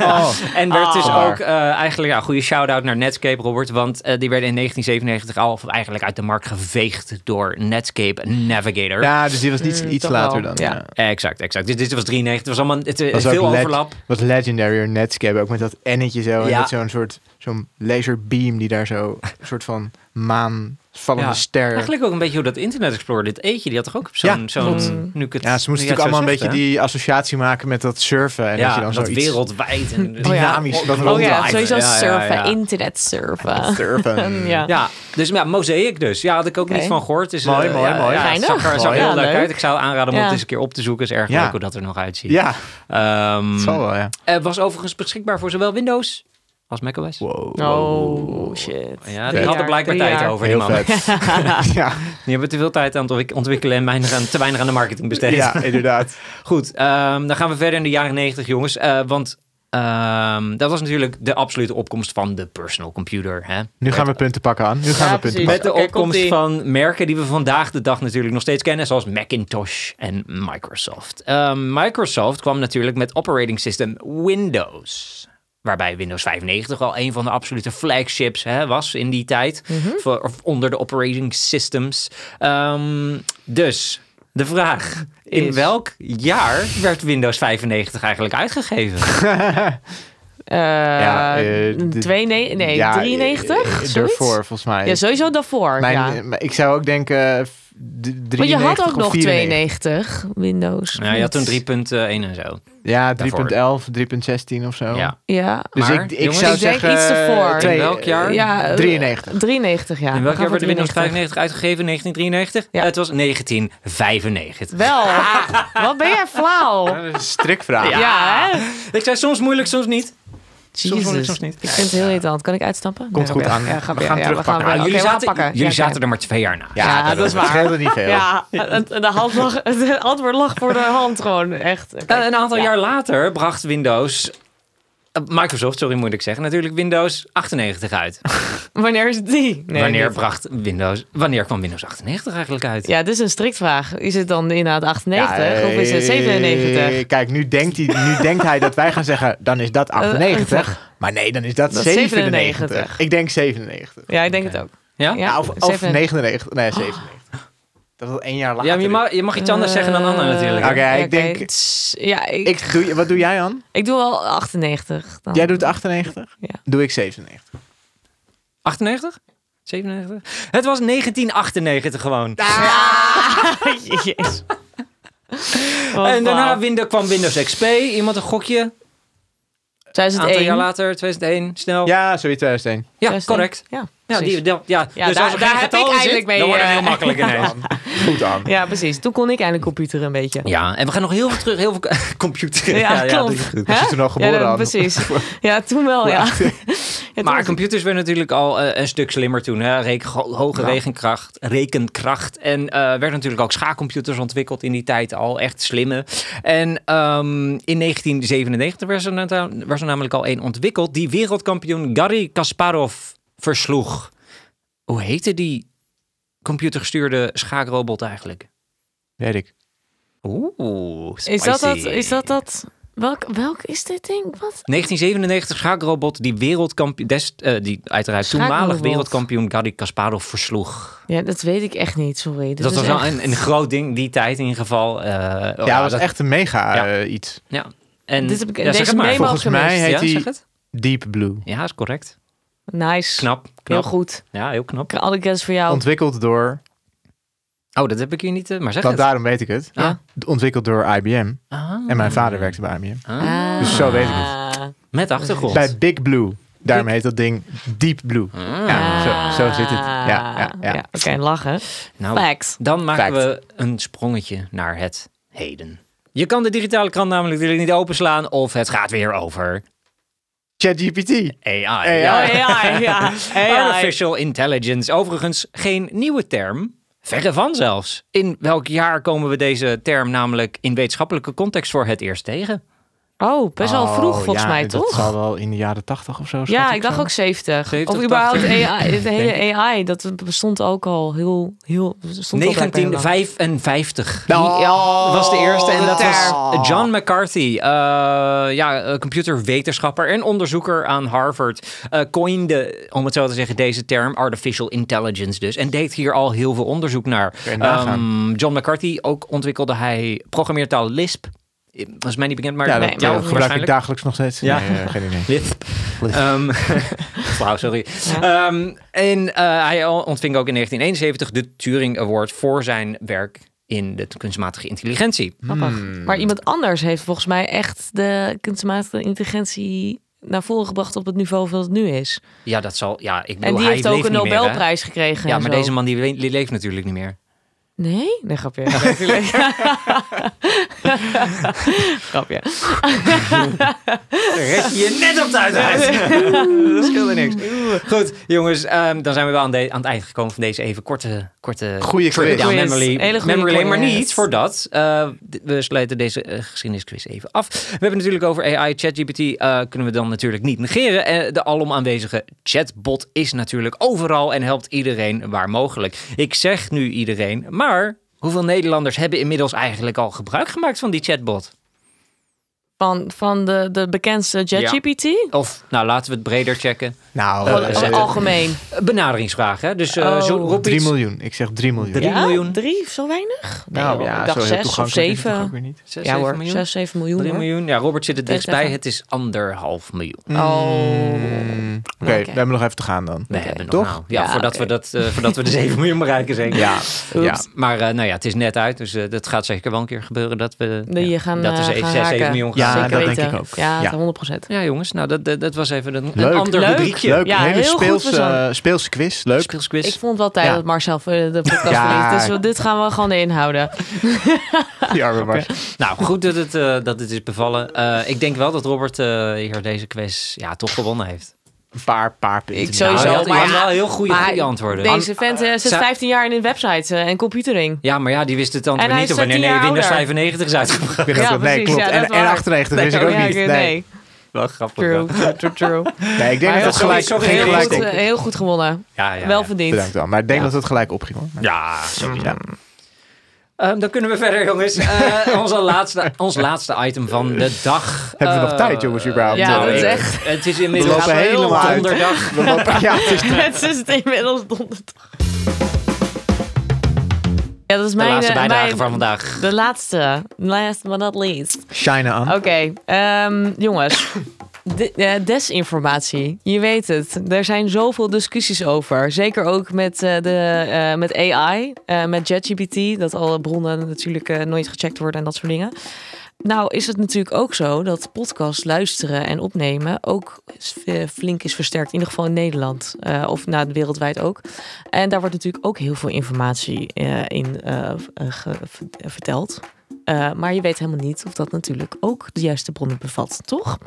Oh. En werd dus Ah. ook eh, eigenlijk ja, goede shout-out naar Netscape, Robert. Want eh, die werden in 1997 al eigenlijk uit de markt geveegd door Netscape Navigator. Ja, dus die was iets, Mm, iets toch wel. later dan. Ja. ja. Exact, exact. Dus dit was 93. Het was allemaal het, eh, was ook veel leg- overlap. Wat legendary hoor, Netscape, ook met dat ennetje zo. Ja. En met zo'n soort zo'n laserbeam die daar zo, een soort van maan, vallende Ja. ster. Eigenlijk ook een beetje hoe dat Internet Explorer, dit eetje, die had toch ook op zo'n... Ja, zo'n klopt. nu ik het- Ja, ze nu jij moesten het natuurlijk zo allemaal een zegt, beetje hè? die associatie maken met dat surfen. En dat je Ja, dan dat, zoiets wereldwijd. En, dynamisch dat Oh ja, ronddraait. sowieso Ja, ja, surfen, ja. internet surfen. surfen. Ja. Ja, dus ja, Mosaic dus. Ja, had ik ook Oké. niet van gehoord. Dus, Mooi, eh, mooi, ja, mooi. Ja, het Geinig. zag er, zag Mooi. heel Ja, leuk leuk. uit. Ik zou aanraden om Ja. het eens een keer op te zoeken. Is erg Ja. leuk hoe dat er nog uitziet. Ja, Ehm, het zal wel, ja. eh, was overigens beschikbaar voor zowel Windows als macOS. Wow. Oh, shit. Ja, Drie die hadden jaar, blijkbaar drie tijd jaar. over. die Heel mannen. vet. ja, Die hebben te veel tijd aan het ontwik- ontwikkelen en weinig aan- te weinig aan de marketing besteed. ja, inderdaad. Goed, ehm, dan gaan we verder in de jaren 90, jongens. Eh, want eh, Ehm, dat was natuurlijk de absolute opkomst van de personal computer. Hè? Nu gaan we punten pakken aan. Nu gaan we punten precies. Met pakken. de Oké, opkomst komt-ie. van merken die we vandaag de dag natuurlijk nog steeds kennen, zoals Macintosh en Microsoft. Ehm, Microsoft kwam natuurlijk met operating system Windows. Waarbij Windows 95 al een van de absolute flagships hè, was in die tijd. Mhm. Voor, of onder de operating systems. Ehm, dus de vraag: in Is- welk jaar werd Windows 95 eigenlijk uitgegeven? Eh, Ja, eh, de- 92, nee, Ja, 93? eh, zoiets? Daarvoor, volgens mij. Ja, sowieso daarvoor. Mijn- ja. maar Ik zou ook denken... f- d- 93 Want je had ook of nog 94. 92 Windows. Nou, je had toen 3.1 en zo. Ja, Daarvoor. 3.11, 3.16 of zo. Oh. Ja. Ja. Dus Maar, ik, ik jongens, zou ik denk zeggen... eh, iets ervoor. In welk jaar? ja, eh, 93. 93, ja. In We welk gaan jaar voor werd de Windows 93. 95 uitgegeven? 1993? Ja. Het was 1995. Wel. Wat ben jij flauw? Dat is een strikvraag. Ja, Ja. hè? Ik zei soms moeilijk, soms niet. Jezus. vond ik soms niet. Ik vind het heel irritant. Kan ik uitstappen? Komt goed oké. aan. Ja, ga We weer. gaan Ja, terugpakken. We gaan, Nou, weer- jullie oké, we gaan zaten, pakken. jullie Ja, zaten oké. er maar twee jaar na. Ja, dat is waar. scheelde niet veel. Ja, en- en de, hand lag, het antwoord lag voor de hand gewoon, echt. Oké. Eh, een aantal Ja. jaar later bracht Windows... eh, Microsoft, sorry moet ik zeggen, natuurlijk Windows 98 uit. Wanneer is die? Nee, wanneer, niet. bracht Windows, wanneer kwam Windows 98 eigenlijk uit? Ja, dit is een strikt vraag. Is het dan inderdaad 98 Ja, of is het eh, 97? Kijk, nu denkt, hij, nu denkt hij dat wij gaan zeggen, dan is dat 98. Maar nee, dan is dat, Eh, Dat is 97. 97. Ik denk 97. Ja, ik denk het ook. Ja? Ja. Ja, of, of 97. 99. Nee, Oh. 97. Dat was één jaar later. Ja, maar je, mag, je mag iets anders zeggen dan Anna natuurlijk. Eh, hè? Oké, ik oké. denk- Tss, Ja, ik, ik, Ik doe, wat doe jij, An? doe wel 98. Dan. Jij doet 98? Ja. Doe ik 97. 98? 97? Het was 1998 gewoon. Nou, Jezus. en daarna Windows, kwam Windows XP. Iemand een gokje. Een aantal 2001. jaar later, 2001, snel. Ja, zoiets eh, 2001. Ja, 2001. correct. Ja, Ja, precies. die, die- ja. Ja, dus daar- als er geen daar heb getal ik in zit, eigenlijk mee, Dan wordt het heel eh, makkelijk ineens. Goed, An. ja, precies. Toen kon ik eindelijk computer een beetje. Ja, en we gaan nog heel veel terug, heel veel computer. Ja, klopt. dat is goed. Was je Hè? toen al geboren, ja, dat- Anne? precies. Ja, toen wel, ja. ja toen Maar was ik- computers werden natuurlijk al eh, een stuk slimmer toen. Hè? Reken- ho- hoge rekenkracht, rekenkracht. En eh, werden natuurlijk ook schaakcomputers ontwikkeld in die tijd al. Echt slimme. En ehm, in 1997 werd er, nata- werd er namelijk al één ontwikkeld. Die wereldkampioen Garry Kasparov versloeg. Hoe heette die computergestuurde schaakrobot eigenlijk? Weet ik. Oeh, spicy. Is dat dat? Is dat dat? Welk, welk is dit ding? Wat? 1997 schaakrobot die wereldkampioen, des, eh, die uiteraard toenmalig Schaakrobot. wereldkampioen Garry Kasparov versloeg. Ja, dat weet ik echt niet. Sorry. Dit dat is was wel echt- een, een groot ding die tijd in ieder geval. eh, oh Ja, was dat- echt een mega Ja. eh, iets. Ja. En, Dit heb ik- ja, deze zeg het maar. memo- Volgens mij gemist. ja, heet zeg hij het. Deep Blue. Ja, is correct. Nice. Knap, Heel knap. goed. Ja, heel knap. Alle kennis voor jou. Ontwikkeld door... Oh, dat heb ik hier niet, eh, maar zeg Dat, het. daarom weet ik het. Ja. Ontwikkeld door IBM. Ah, En mijn vader werkte bij IBM. ah. Dus zo weet ik het. Ah. Ah. Met achtergrond. Bij Big Blue. Daarom heet dat ding Deep Blue. Ja, zo, zo zit het. Ja, ja, ja. Oké, lachen. Nou, Facts. Dan maken Fact. we een sprongetje naar het heden. Je kan de digitale krant namelijk natuurlijk niet openslaan of het gaat weer over ChatGPT. AI. Ja. Oh, ja, ja. AI. Artificial intelligence. Overigens geen nieuwe term. Verre van zelfs. In welk jaar komen we deze term namelijk in wetenschappelijke context voor het eerst tegen? Oh, best wel vroeg Oh, volgens ja, mij, Dat toch? zal wel in de jaren tachtig of zo. Ja, ik dacht ook 70. 70, of überhaupt 80. AI, het hele AI, dat bestond ook al heel, heel... Stond al blijkbaar heel lang. 1955 Oh, was de eerste en dat was term. John McCarthy, eh, ja, eh, computerwetenschapper en onderzoeker aan Harvard, eh coinde, om het zo te zeggen, deze term artificial intelligence dus en deed hier al heel veel onderzoek naar. Kun je nagaan. Ehm, John McCarthy ook ontwikkelde hij programmeertaal Lisp. Eh, Was mij niet bekend, maar Ja, nee, dat eh, jou gebruik ik waarschijnlijk. dagelijks nog steeds. Ja. Nee, eh, geen idee. Lisp. Lisp. Ehm, Flauw, sorry. Ehm, en eh, hij ontving ook in 1971 de Turing Award voor zijn werk in de kunstmatige intelligentie. Grappig. Hmm. Maar iemand anders heeft volgens mij echt de kunstmatige intelligentie naar voren gebracht op het niveau van het nu is. Ja, dat zal. Ja, ik bedoel, En die hij heeft ook leeft een niet meer, hè? Nobelprijs gekregen. ja, en maar zo. deze man die, le- die leeft natuurlijk niet meer. Nee? Nee, grapje. Ja, natuurlijk. grapje. Red je je net op tijd uit. dat scheelde niks. Goed, jongens, ehm, dan zijn we wel aan, de- aan het eind gekomen van deze even korte, korte Goeie trip quiz. down Quiz. memory, Hele goede memory lane. Maar quiz. niet voordat eh, d- we sluiten deze eh, geschiedenisquiz even af. We hebben natuurlijk over AI, ChatGPT eh, kunnen we dan natuurlijk niet negeren. Eh, de alom aanwezige chatbot is natuurlijk overal en helpt iedereen waar mogelijk. Ik zeg nu iedereen, maar hoeveel Nederlanders hebben inmiddels eigenlijk al gebruik gemaakt van die chatbot? Van, van de, de bekendste ChatGPT? Of nou, laten we het breder checken. Nou, Gewoon eh, al- zeker. algemeen. benaderingsvraag, hè? Dus eh, Oh. zo, roep 3 oh, iets. miljoen. Ik zeg 3 miljoen. Drie miljoen. Drie, zo weinig? Nee, Nou hoor, ja, ik zo dacht heel zes of toegankelijk is het toch ook zeven. weer niet. Zes, Ja zeven hoor, miljoen? zes, zeven miljoen. Drie hoor. miljoen. Ja, Robert zit er Echt dichtstbij. even. Het is anderhalf miljoen. Oh. Mm. Oké, Oké. we hebben nog even te gaan dan. We hebben nog Toch? nou- Ja, Ja, voordat, oké. we dat, eh, voordat we de 7 miljoen bereiken zeker. Ja, ja. Maar eh, nou ja, het is net uit. Dus eh, dat gaat zeker wel een keer gebeuren dat we Die ja, je gaan, dat we eh, zeven- gaan zes, zeven raken. miljoen Ja, gaan Zeker zeker. dat denk weten. ik ook. Ja, Ja. 100 procent. Ja, jongens. Nou, dat, dat, dat was even een, een Leuk. ander Leuk. rubriekje. Leuk, Ja, een hele heel goed speelse, verzonnen. speelse quiz. Leuk. Speelsquiz. Ik vond wel tijd Dus Ja. dat Marcel voor de podcast Ja. verliet. Dus we- dit gaan we gewoon inhouden. Die arme Mars. Nou, goed dat het, eh, dat het is bevallen. Eh, ik denk wel dat Robert eh, hier deze quiz ja, toch gewonnen heeft. Een paar, paar punten. Ik sowieso, Nou, je had, je maar had ja, wel heel goede, maar goede antwoorden. Deze vent eh, zit zou- 15 jaar in de websites eh, en computering. Ja, maar ja, die wist het dan En weer hij niet. Of is wanneer 13 jaar Windows ouder. 95 is uitgebracht. Ik weet Ja, het ook- nee, precies, klopt. ja, dat en, is waar. en 98 wist ik Ja, ook oké, niet. Nee, nee. Wel grappig. True, true, true, true. Nee, ik denk Maar dat het sorry, gelijk, sorry, geen heel, gelijk goed, eh, op. heel goed gewonnen. Ja, ja, Wel ja. verdiend. Bedankt wel. Maar ik denk Ja. dat het gelijk opging hoor. Maar- Ja, sowieso. Ja. Ehm, dan kunnen we verder, jongens. Eh, onze laatste, ons laatste item van de dag. Hebben we nog Eh, tijd, jongens, überhaupt? Ja, nou, dat is ik- echt- Het is inmiddels lopen helemaal uit. donderdag. We lopen- Ja, het is Het is het inmiddels donderdag. Ja, dat is De mijn... laatste eh, bijdrage mijn- van vandaag. De laatste. Last but not least. China aan. Oh. Oké, ehm, jongens. De- eh, desinformatie. Je weet het. Er zijn zoveel discussies over. Zeker ook met, eh, de, eh, met AI, eh, met ChatGPT. Dat alle bronnen natuurlijk eh, nooit gecheckt worden en dat soort dingen. Nou is het natuurlijk ook zo dat podcast luisteren en opnemen ook s- eh, flink is versterkt. In ieder geval in Nederland eh, of nou, wereldwijd ook. En daar wordt natuurlijk ook heel veel informatie eh, in eh, v- eh, ge- v- eh, verteld. Eh, maar je weet helemaal niet of dat natuurlijk ook de juiste bronnen bevat, toch?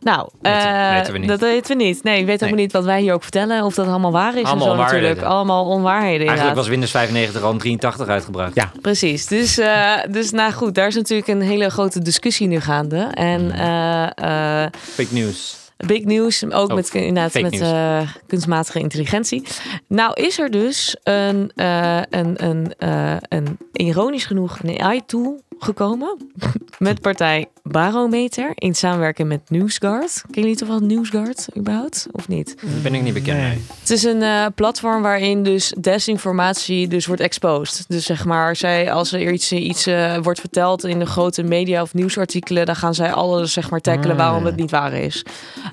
Nou, Weten- eh, weten we niet. dat weten we niet. Nee, je weet helemaal niet wat wij hier ook vertellen. Of dat allemaal waar is en Allemaal zo onwaarheden. natuurlijk. Allemaal onwaarheden Eigenlijk inderdaad. was Windows 95 al in 83 uitgebracht. Ja. Precies. Dus, eh, dus nou goed, daar is natuurlijk een hele grote discussie nu gaande. Mm. En eh, eh, Fake news. big nieuws, ook Oh, met, inderdaad, fake met eh, kunstmatige intelligentie. Nou is er dus een, eh, een, een, eh, een ironisch genoeg een AI-tool gekomen met partij Barometer in samenwerking met NewsGuard. Ken jullie toch wel NewsGuard überhaupt, of niet? Daar ben ik niet bekend Nee. mee. Het is een eh, platform waarin dus desinformatie dus wordt exposed. Dus zeg maar, zij, als er iets, iets eh, wordt verteld in de grote media of nieuwsartikelen, dan gaan zij alles zeg maar tackelen Ah, Mm. waarom het niet waar is.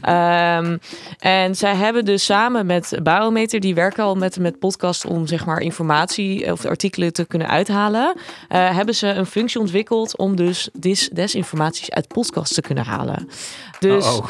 Ehm, en zij hebben dus samen met Barometer, die werken al met, met podcasts om zeg maar informatie of artikelen te kunnen uithalen, eh, hebben ze een functie ontwikkeld om dus dis, desinformaties uit podcasts te kunnen halen. Dus Oh, oh.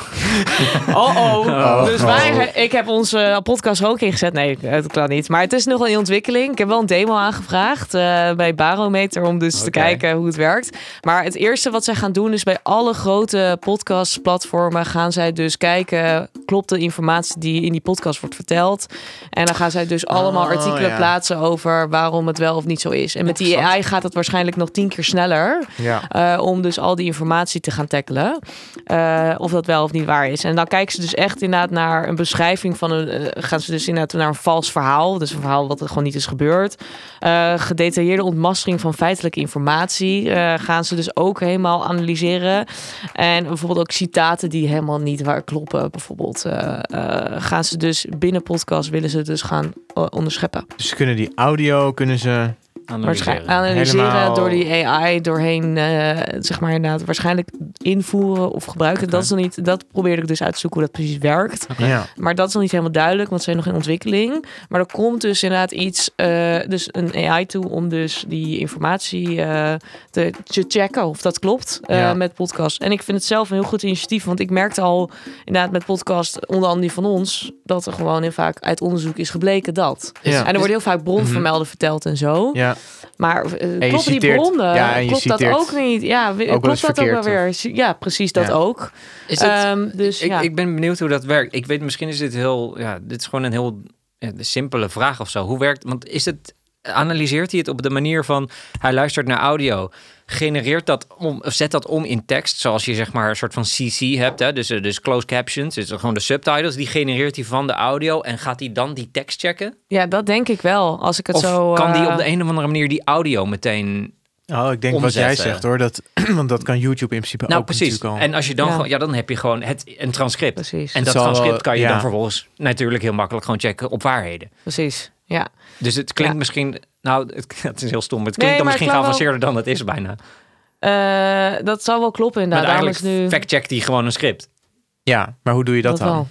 Oh oh. Oh. Dus wij, ik heb onze podcast er ook ingezet. Nee, dat kan niet. Maar het is nog wel in ontwikkeling. Ik heb wel een demo aangevraagd eh, bij Barometer om dus te Oké. kijken hoe het werkt. Maar het eerste wat zij gaan doen is bij alle grote podcastplatformen gaan zij dus kijken, klopt de informatie die in die podcast wordt verteld? En dan gaan zij dus allemaal Oh, artikelen ja. plaatsen over waarom het wel of niet zo is. En met die AI gaat het waarschijnlijk nog tien keer sneller. Ja. Eh, om dus al die informatie te gaan tackelen. Eh, of dat wel of niet waar is. En dan kijken ze dus echt inderdaad naar een beschrijving van een. eh, gaan ze dus inderdaad naar een vals verhaal. Dus een verhaal wat er gewoon niet is gebeurd. Eh, gedetailleerde ontmaskering van feitelijke informatie. eh, gaan ze dus ook helemaal analyseren. En bijvoorbeeld ook citaten die helemaal niet waar kloppen. Bijvoorbeeld eh, eh, gaan ze dus binnen podcast willen ze dus gaan eh, onderscheppen. Dus ze kunnen die audio, kunnen ze... Waarschijnlijk Analyseren. analyseren Helemaal- door die AI doorheen, eh, zeg maar inderdaad, waarschijnlijk invoeren of gebruiken. Dat is nog niet, dat probeerde ik dus uit te zoeken hoe dat precies werkt. Ja. Maar dat is nog niet helemaal duidelijk, want ze zijn nog in ontwikkeling. Maar er komt dus inderdaad iets, eh, dus een AI toe om dus die informatie eh, te, te checken of dat klopt eh, Ja. met podcast. En ik vind het zelf een heel goed initiatief, want ik merkte al inderdaad met podcast, onder andere die van ons, dat er gewoon heel vaak uit onderzoek is gebleken dat. Ja. Mhm. En er wordt heel vaak bronvermelden verteld en zo. Ja. Maar eh, je klopt die citeert- bronnen? ja, en je klopt dat citeert ook niet? Ja, we- wel eens klopt dat ook wel verkeerd, weer? Ja, precies dat Ja. ook. Is het, Ehm, dus ik, ja. ik ben benieuwd hoe dat werkt. Ik weet, misschien is dit heel. Ja, dit is gewoon een heel ja, simpele vraag of zo. Hoe werkt. Want is het. Analyseert hij het op de manier van. Hij luistert naar audio. Genereert dat om. Of zet dat om in tekst. Zoals je zeg maar een soort van CC hebt. Hè? Dus, eh, dus closed captions. Dus gewoon de subtitles. Die genereert hij van de audio. En gaat hij dan die tekst checken? ja, dat denk ik wel. Als ik het Of zo. kan die eh, op de een of andere manier die audio meteen. nou, Oh, ik denk wat jij Omzetten. zegt hoor. Dat, want dat kan YouTube in principe Nou, ook precies. natuurlijk al. En als je dan Ja. gewoon. Ja, dan heb je gewoon het, een transcript. Precies, En dat zal wel- transcript kan je ja. dan vervolgens natuurlijk heel makkelijk gewoon checken op waarheden. precies. Ja. Dus het klinkt Ja. misschien. Nou, het, het is heel stom. maar Het Nee, klinkt dan maar misschien het geavanceerder kan wel- dan het is bijna. Eh, dat zal wel kloppen maar inderdaad. eigenlijk Daarom is nu... fact-checkt hij gewoon een script. Ja, maar hoe doe je dat, dan? wel.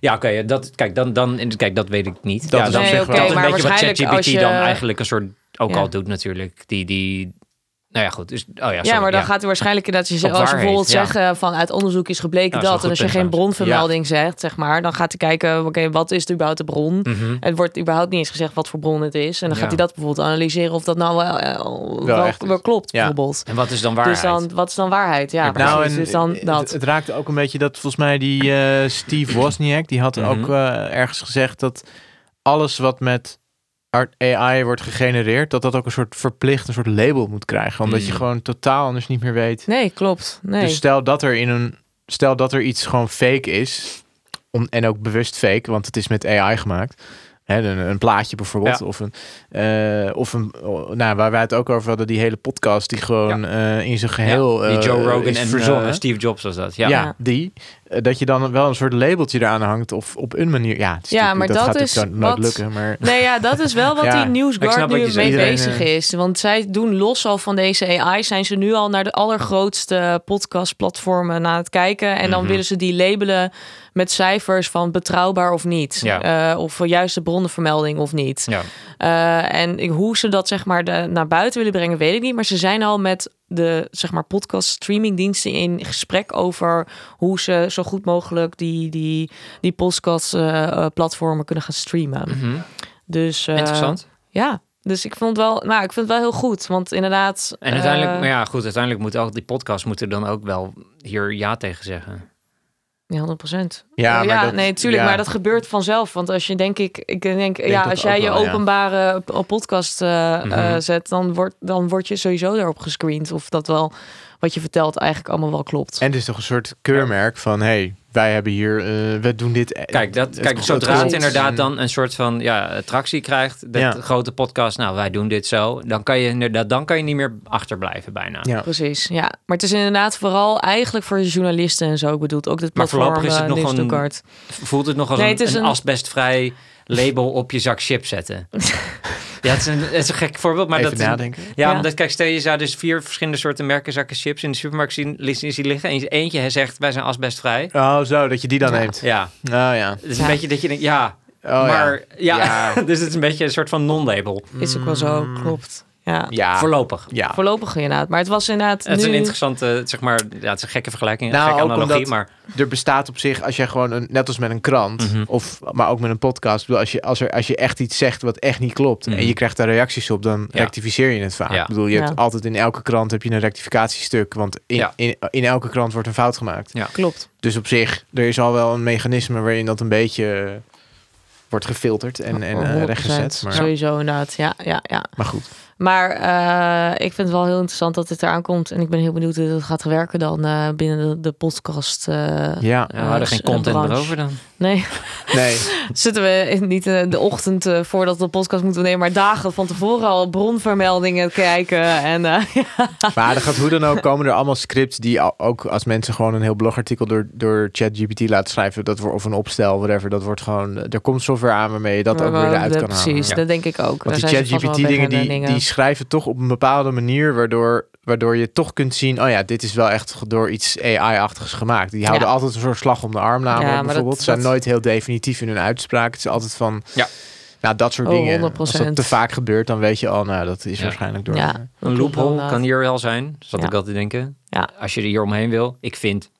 Ja, oké. dat, kijk, dan, dan, kijk, dat weet ik niet. Dat ja, is dan op Nee, zich oké, wel. dat is maar een beetje wat waarschijnlijk ChatGPT als je- dan eigenlijk een soort ook Ja. al doet natuurlijk. Die, die, nou ja, goed. Dus, oh ja, sorry, ja, maar dan ja. gaat hij waarschijnlijk dat je Op ze- als ze waarheid, bijvoorbeeld ja. zeggen van uit onderzoek is gebleken Ja, dat is dat. En een als je goed geen punt bronvermelding zegt, zeg maar, dan gaat hij kijken, oké, wat is de- überhaupt de bron? Mhm. Het wordt überhaupt niet eens gezegd wat voor bron het is. En dan gaat Ja. hij dat bijvoorbeeld analyseren of dat nou wel, eh, wel, echt is. wel klopt, Ja. bijvoorbeeld. En wat is dan waarheid? Dus dan, wat is dan waarheid? Ja, Ja, precies. Nou, en dus dan het- dat. Het, raakt ook een beetje dat volgens mij die eh, Steve Wozniak, die had Mhm. ook eh, ergens gezegd dat alles wat met art- AI wordt gegenereerd, dat dat ook een soort verplicht, een soort label moet krijgen. Omdat je Mm. gewoon totaal anders niet meer weet. nee, klopt. Nee. Dus stel dat er in een, stel dat er iets gewoon fake is, om, en ook bewust fake, want het is met AI gemaakt. Hè, een, een plaatje bijvoorbeeld. Of een, eh, of een oh, nou, waar wij het ook over hadden, die hele podcast die gewoon eh, in zijn geheel. Ja, die eh, Joe Rogan is en verzonnen. eh, Steve Jobs was dat. Ja. Ja, Ja. die. Eh, Dat je dan wel een soort labeltje eraan hangt of op een manier. Ja, het is Ja, natuurlijk- maar dat dat, gaat is natuurlijk nooit wat- lukken. Maar Nee, ja, dat is wel wat Ja, die ik Newsguard snap wat nu je zegt. mee Iedereen, bezig eh, is. Want zij doen los al van deze AI, zijn ze nu al naar de allergrootste podcastplatformen aan het kijken. En dan Mhm. willen ze die labelen met cijfers van betrouwbaar of niet. Ja. Eh, of juiste bronnenvermelding of niet. Ja. Eh, en ik- hoe ze dat zeg maar de- naar buiten willen brengen, weet ik niet. Maar ze zijn al met de zeg maar, podcast streamingdiensten in gesprek over hoe ze zo goed mogelijk die, die, die podcast eh, eh, platformen kunnen gaan streamen. Mhm. Dus eh, Interessant. Ja, dus ik vond wel, nou, ik vind het wel heel goed, want inderdaad. En uiteindelijk, eh, maar ja, goed, uiteindelijk moet ook die podcast moeten dan ook wel hier ja tegen zeggen. ja, 100 procent. Oh, ja, maar dat- nee, tuurlijk, ja. maar dat gebeurt vanzelf, want als je denk ik, ik denk, ja, dat als jij ook je wel, ja. openbare p- podcast eh, eh, Mhm. zet, dan wordt dan word je sowieso daarop gescreend of dat wel wat je vertelt eigenlijk allemaal wel klopt. En het is toch een soort keurmerk van hey, wij hebben hier, eh, we doen dit. eh, Kijk, dat, het- kijk het- zodra het klopt. inderdaad dan een soort van ja, attractie krijgt, dat Ja. grote podcast, nou wij doen dit zo, dan kan je inderdaad dan kan je niet meer achterblijven bijna. Ja. Precies, ja. Maar het is inderdaad vooral eigenlijk voor journalisten en zo bedoeld. Ook dit Maar platform voorlopig is het eh, nog een- Newsdoekart. Voelt het nog als Nee, een, het is een een- asbestvrij label op je zak chips zetten? ja, het is, een, het is een gek voorbeeld, maar Even dat nadenken. Ja, Ja. omdat kijk, stel je zou dus vier verschillende soorten merken zakken chips in de supermarkt zien, zien zien liggen en eentje zegt wij zijn asbestvrij. Oh, zo dat je die dan neemt. Ja, Oh ja. het is Ja. een beetje dat je denkt, ja, Oh, maar ja. ja, Ja. dus het is een beetje een soort van non-label. Is ook wel zo, klopt. Ja. Mm. ja. Voorlopig. Ja. Voorlopig inderdaad. Maar het was inderdaad Het is nu... een interessante, zeg maar, ja, het is een gekke vergelijking, een Nou, gekke ook analogie, omdat- maar Er bestaat op zich, als jij gewoon een, net als met een krant, Mhm. of, maar ook met een podcast, ik bedoel, als, je, als, er, als je echt iets zegt wat echt niet klopt Mhm. en je krijgt daar reacties op, dan Ja. rectificeer je het vaak. Ja. Ik bedoel, je hebt Ja. altijd in elke krant heb je een rectificatiestuk, want in, Ja. in, in elke krant wordt een fout gemaakt. Klopt. Dus op zich, er is al wel een mechanisme waarin dat een beetje eh, wordt gefilterd en, en eh, 100%, rechtgezet. Maar, Sowieso inderdaad, ja, ja, ja. maar goed, Maar eh, ik vind het wel heel interessant dat dit eraan komt. En ik ben heel benieuwd hoe het gaat werken dan eh, binnen de, de podcast. eh. ja. ja, we hadden eh, geen s- content meer branche. over dan. Nee, Nee, zitten we in- niet eh, de ochtend eh, voordat we de podcast moeten nemen, maar dagen van tevoren al bronvermeldingen kijken. En eh, maar er gaat hoe dan ook komen er allemaal scripts die al- ook als mensen gewoon een heel blogartikel door, door ChatGPT laten schrijven, dat wordt, of een opstel, whatever, dat wordt gewoon, eh, er komt software aan waarmee je dat ook weer eruit de- kan halen. Precies, Ja. dat denk ik ook. Daar Want die zijn ze vast wel ChatGPT dingen weg aan die, de die schrijven toch op een bepaalde manier waardoor, waardoor je toch kunt zien, oh ja, dit is wel echt door iets AI-achtigs gemaakt. Die houden Ja. altijd een soort slag om de arm namelijk maar dat- bijvoorbeeld. Ze zijn dat- nooit heel definitief in hun uitspraak. Het is altijd van, Ja. nou dat soort Oh, dingen. Als 100%. dat te vaak gebeurt, dan weet je al, nou dat is Ja. waarschijnlijk door. Ja. eh, Een klopt wel, loophole inderdaad. kan hier wel zijn, zat Ja. ik al te denken. Ja. Als je er hier omheen wil, ik vind.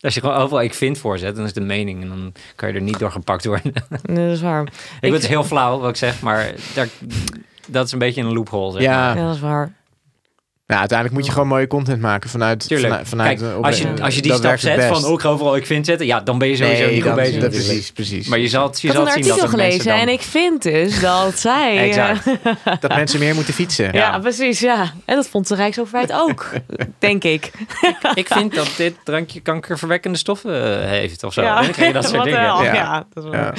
Als je gewoon overal ik vind voorzet, dan is de mening en dan kan je er niet door gepakt worden. Nee, dat is waar. ik vind het heel flauw wat ik zeg, maar daar, dat is een beetje een loophole. Zeg maar. Ja. Ja, dat is waar. Nou, uiteindelijk moet je gewoon mooie content maken vanuit... Tuurlijk. vanuit- vanuit Kijk, eh, op- als je, als je die dat stap werkt het zet best. van ook overal ik vind zetten, ja, dan ben je sowieso nee, niet goed dat- bezig. dat, natuurlijk. precies, precies. Maar je zal, je Ik zal had een zien dat artikel de mensen gelezen dan... en ik vind dus dat zij... eh, Exact. Dat mensen meer moeten fietsen. ja. Ja. precies, ja. En dat vond de Rijksoverheid ook, denk ik. Ik vind dat dit drankje kankerverwekkende stoffen eh, heeft of zo. En ja. dan krijg je dat soort Wat de dingen. hel, Ja. Ja, dat is wel- Ja.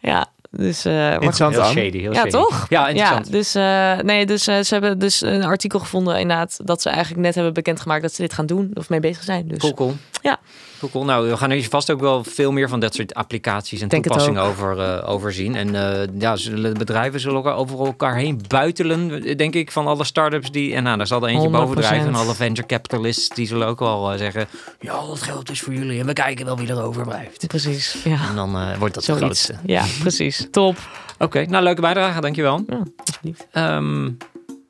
ja, dus... eh, maar Interessant, Heel Anne. shady, heel Ja, shady. toch? Ja, Ja, interessant. dus, eh, nee, dus eh, ze hebben dus een artikel gevonden inderdaad... dat ze eigenlijk net hebben bekendgemaakt dat ze dit gaan doen... of mee bezig zijn. Dus Cool, cool. Ja. Cool, cool. Nou, we gaan er vast ook wel veel meer van dat soort applicaties en Denk het toepassingen over, eh, overzien. En eh, ja, zullen, bedrijven zullen elkaar over elkaar heen buitelen, denk ik, van alle start-ups die... En nou, daar zal er eentje 100%. bovendrijven. En alle venture capitalists, die zullen ook wel eh, zeggen... Ja, dat geld is voor jullie en we kijken wel wie er overblijft. precies, ja. En dan eh, wordt dat de Zoiets. grootste. Ja, precies. Top. Oké, nou, leuke bijdrage. Dankjewel. Ja, alsjeblieft. Ehm,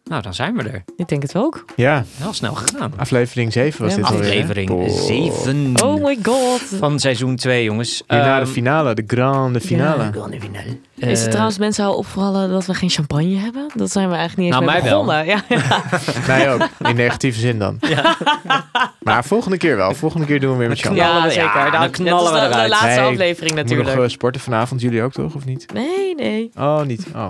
nou, dan zijn we er. Ik denk het ook. Ja, Heel snel gedaan. aflevering 7 was Ja, dit alweer. hè? Boah. Aflevering 7 Oh my god. van seizoen 2, jongens. Hierna de Ehm, finale, de grande finale. Ja. Is Eh, het trouwens mensen al opgevallen dat we geen champagne hebben? Dat zijn we eigenlijk niet eens Nou, mee mij wel. begonnen. Ja, ja. Mij ook, in negatieve zin dan. Maar volgende keer wel. Volgende keer doen we weer met Jan. knallen we- ja, dan Dat- knallen dat we is de- eruit. De laatste Hey, aflevering Moet nog natuurlijk. eh, sporten vanavond, jullie ook toch, of niet? Nee, nee. Oh, niet. Oh.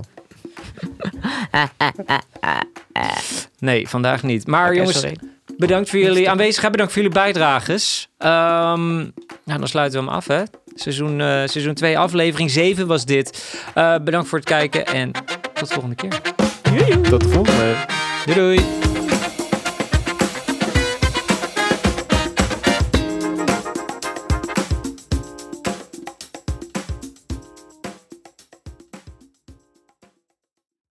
Nee, vandaag niet. Maar Oké, jongens, sorry. bedankt voor jullie aanwezigheid. Bedankt voor jullie bijdrages. Ehm, nou, dan sluiten we hem af, hè. Seizoen, eh, seizoen 2, aflevering 7 was dit. Eh, bedankt voor het kijken en tot de volgende keer. Tot de volgende. Doei doei.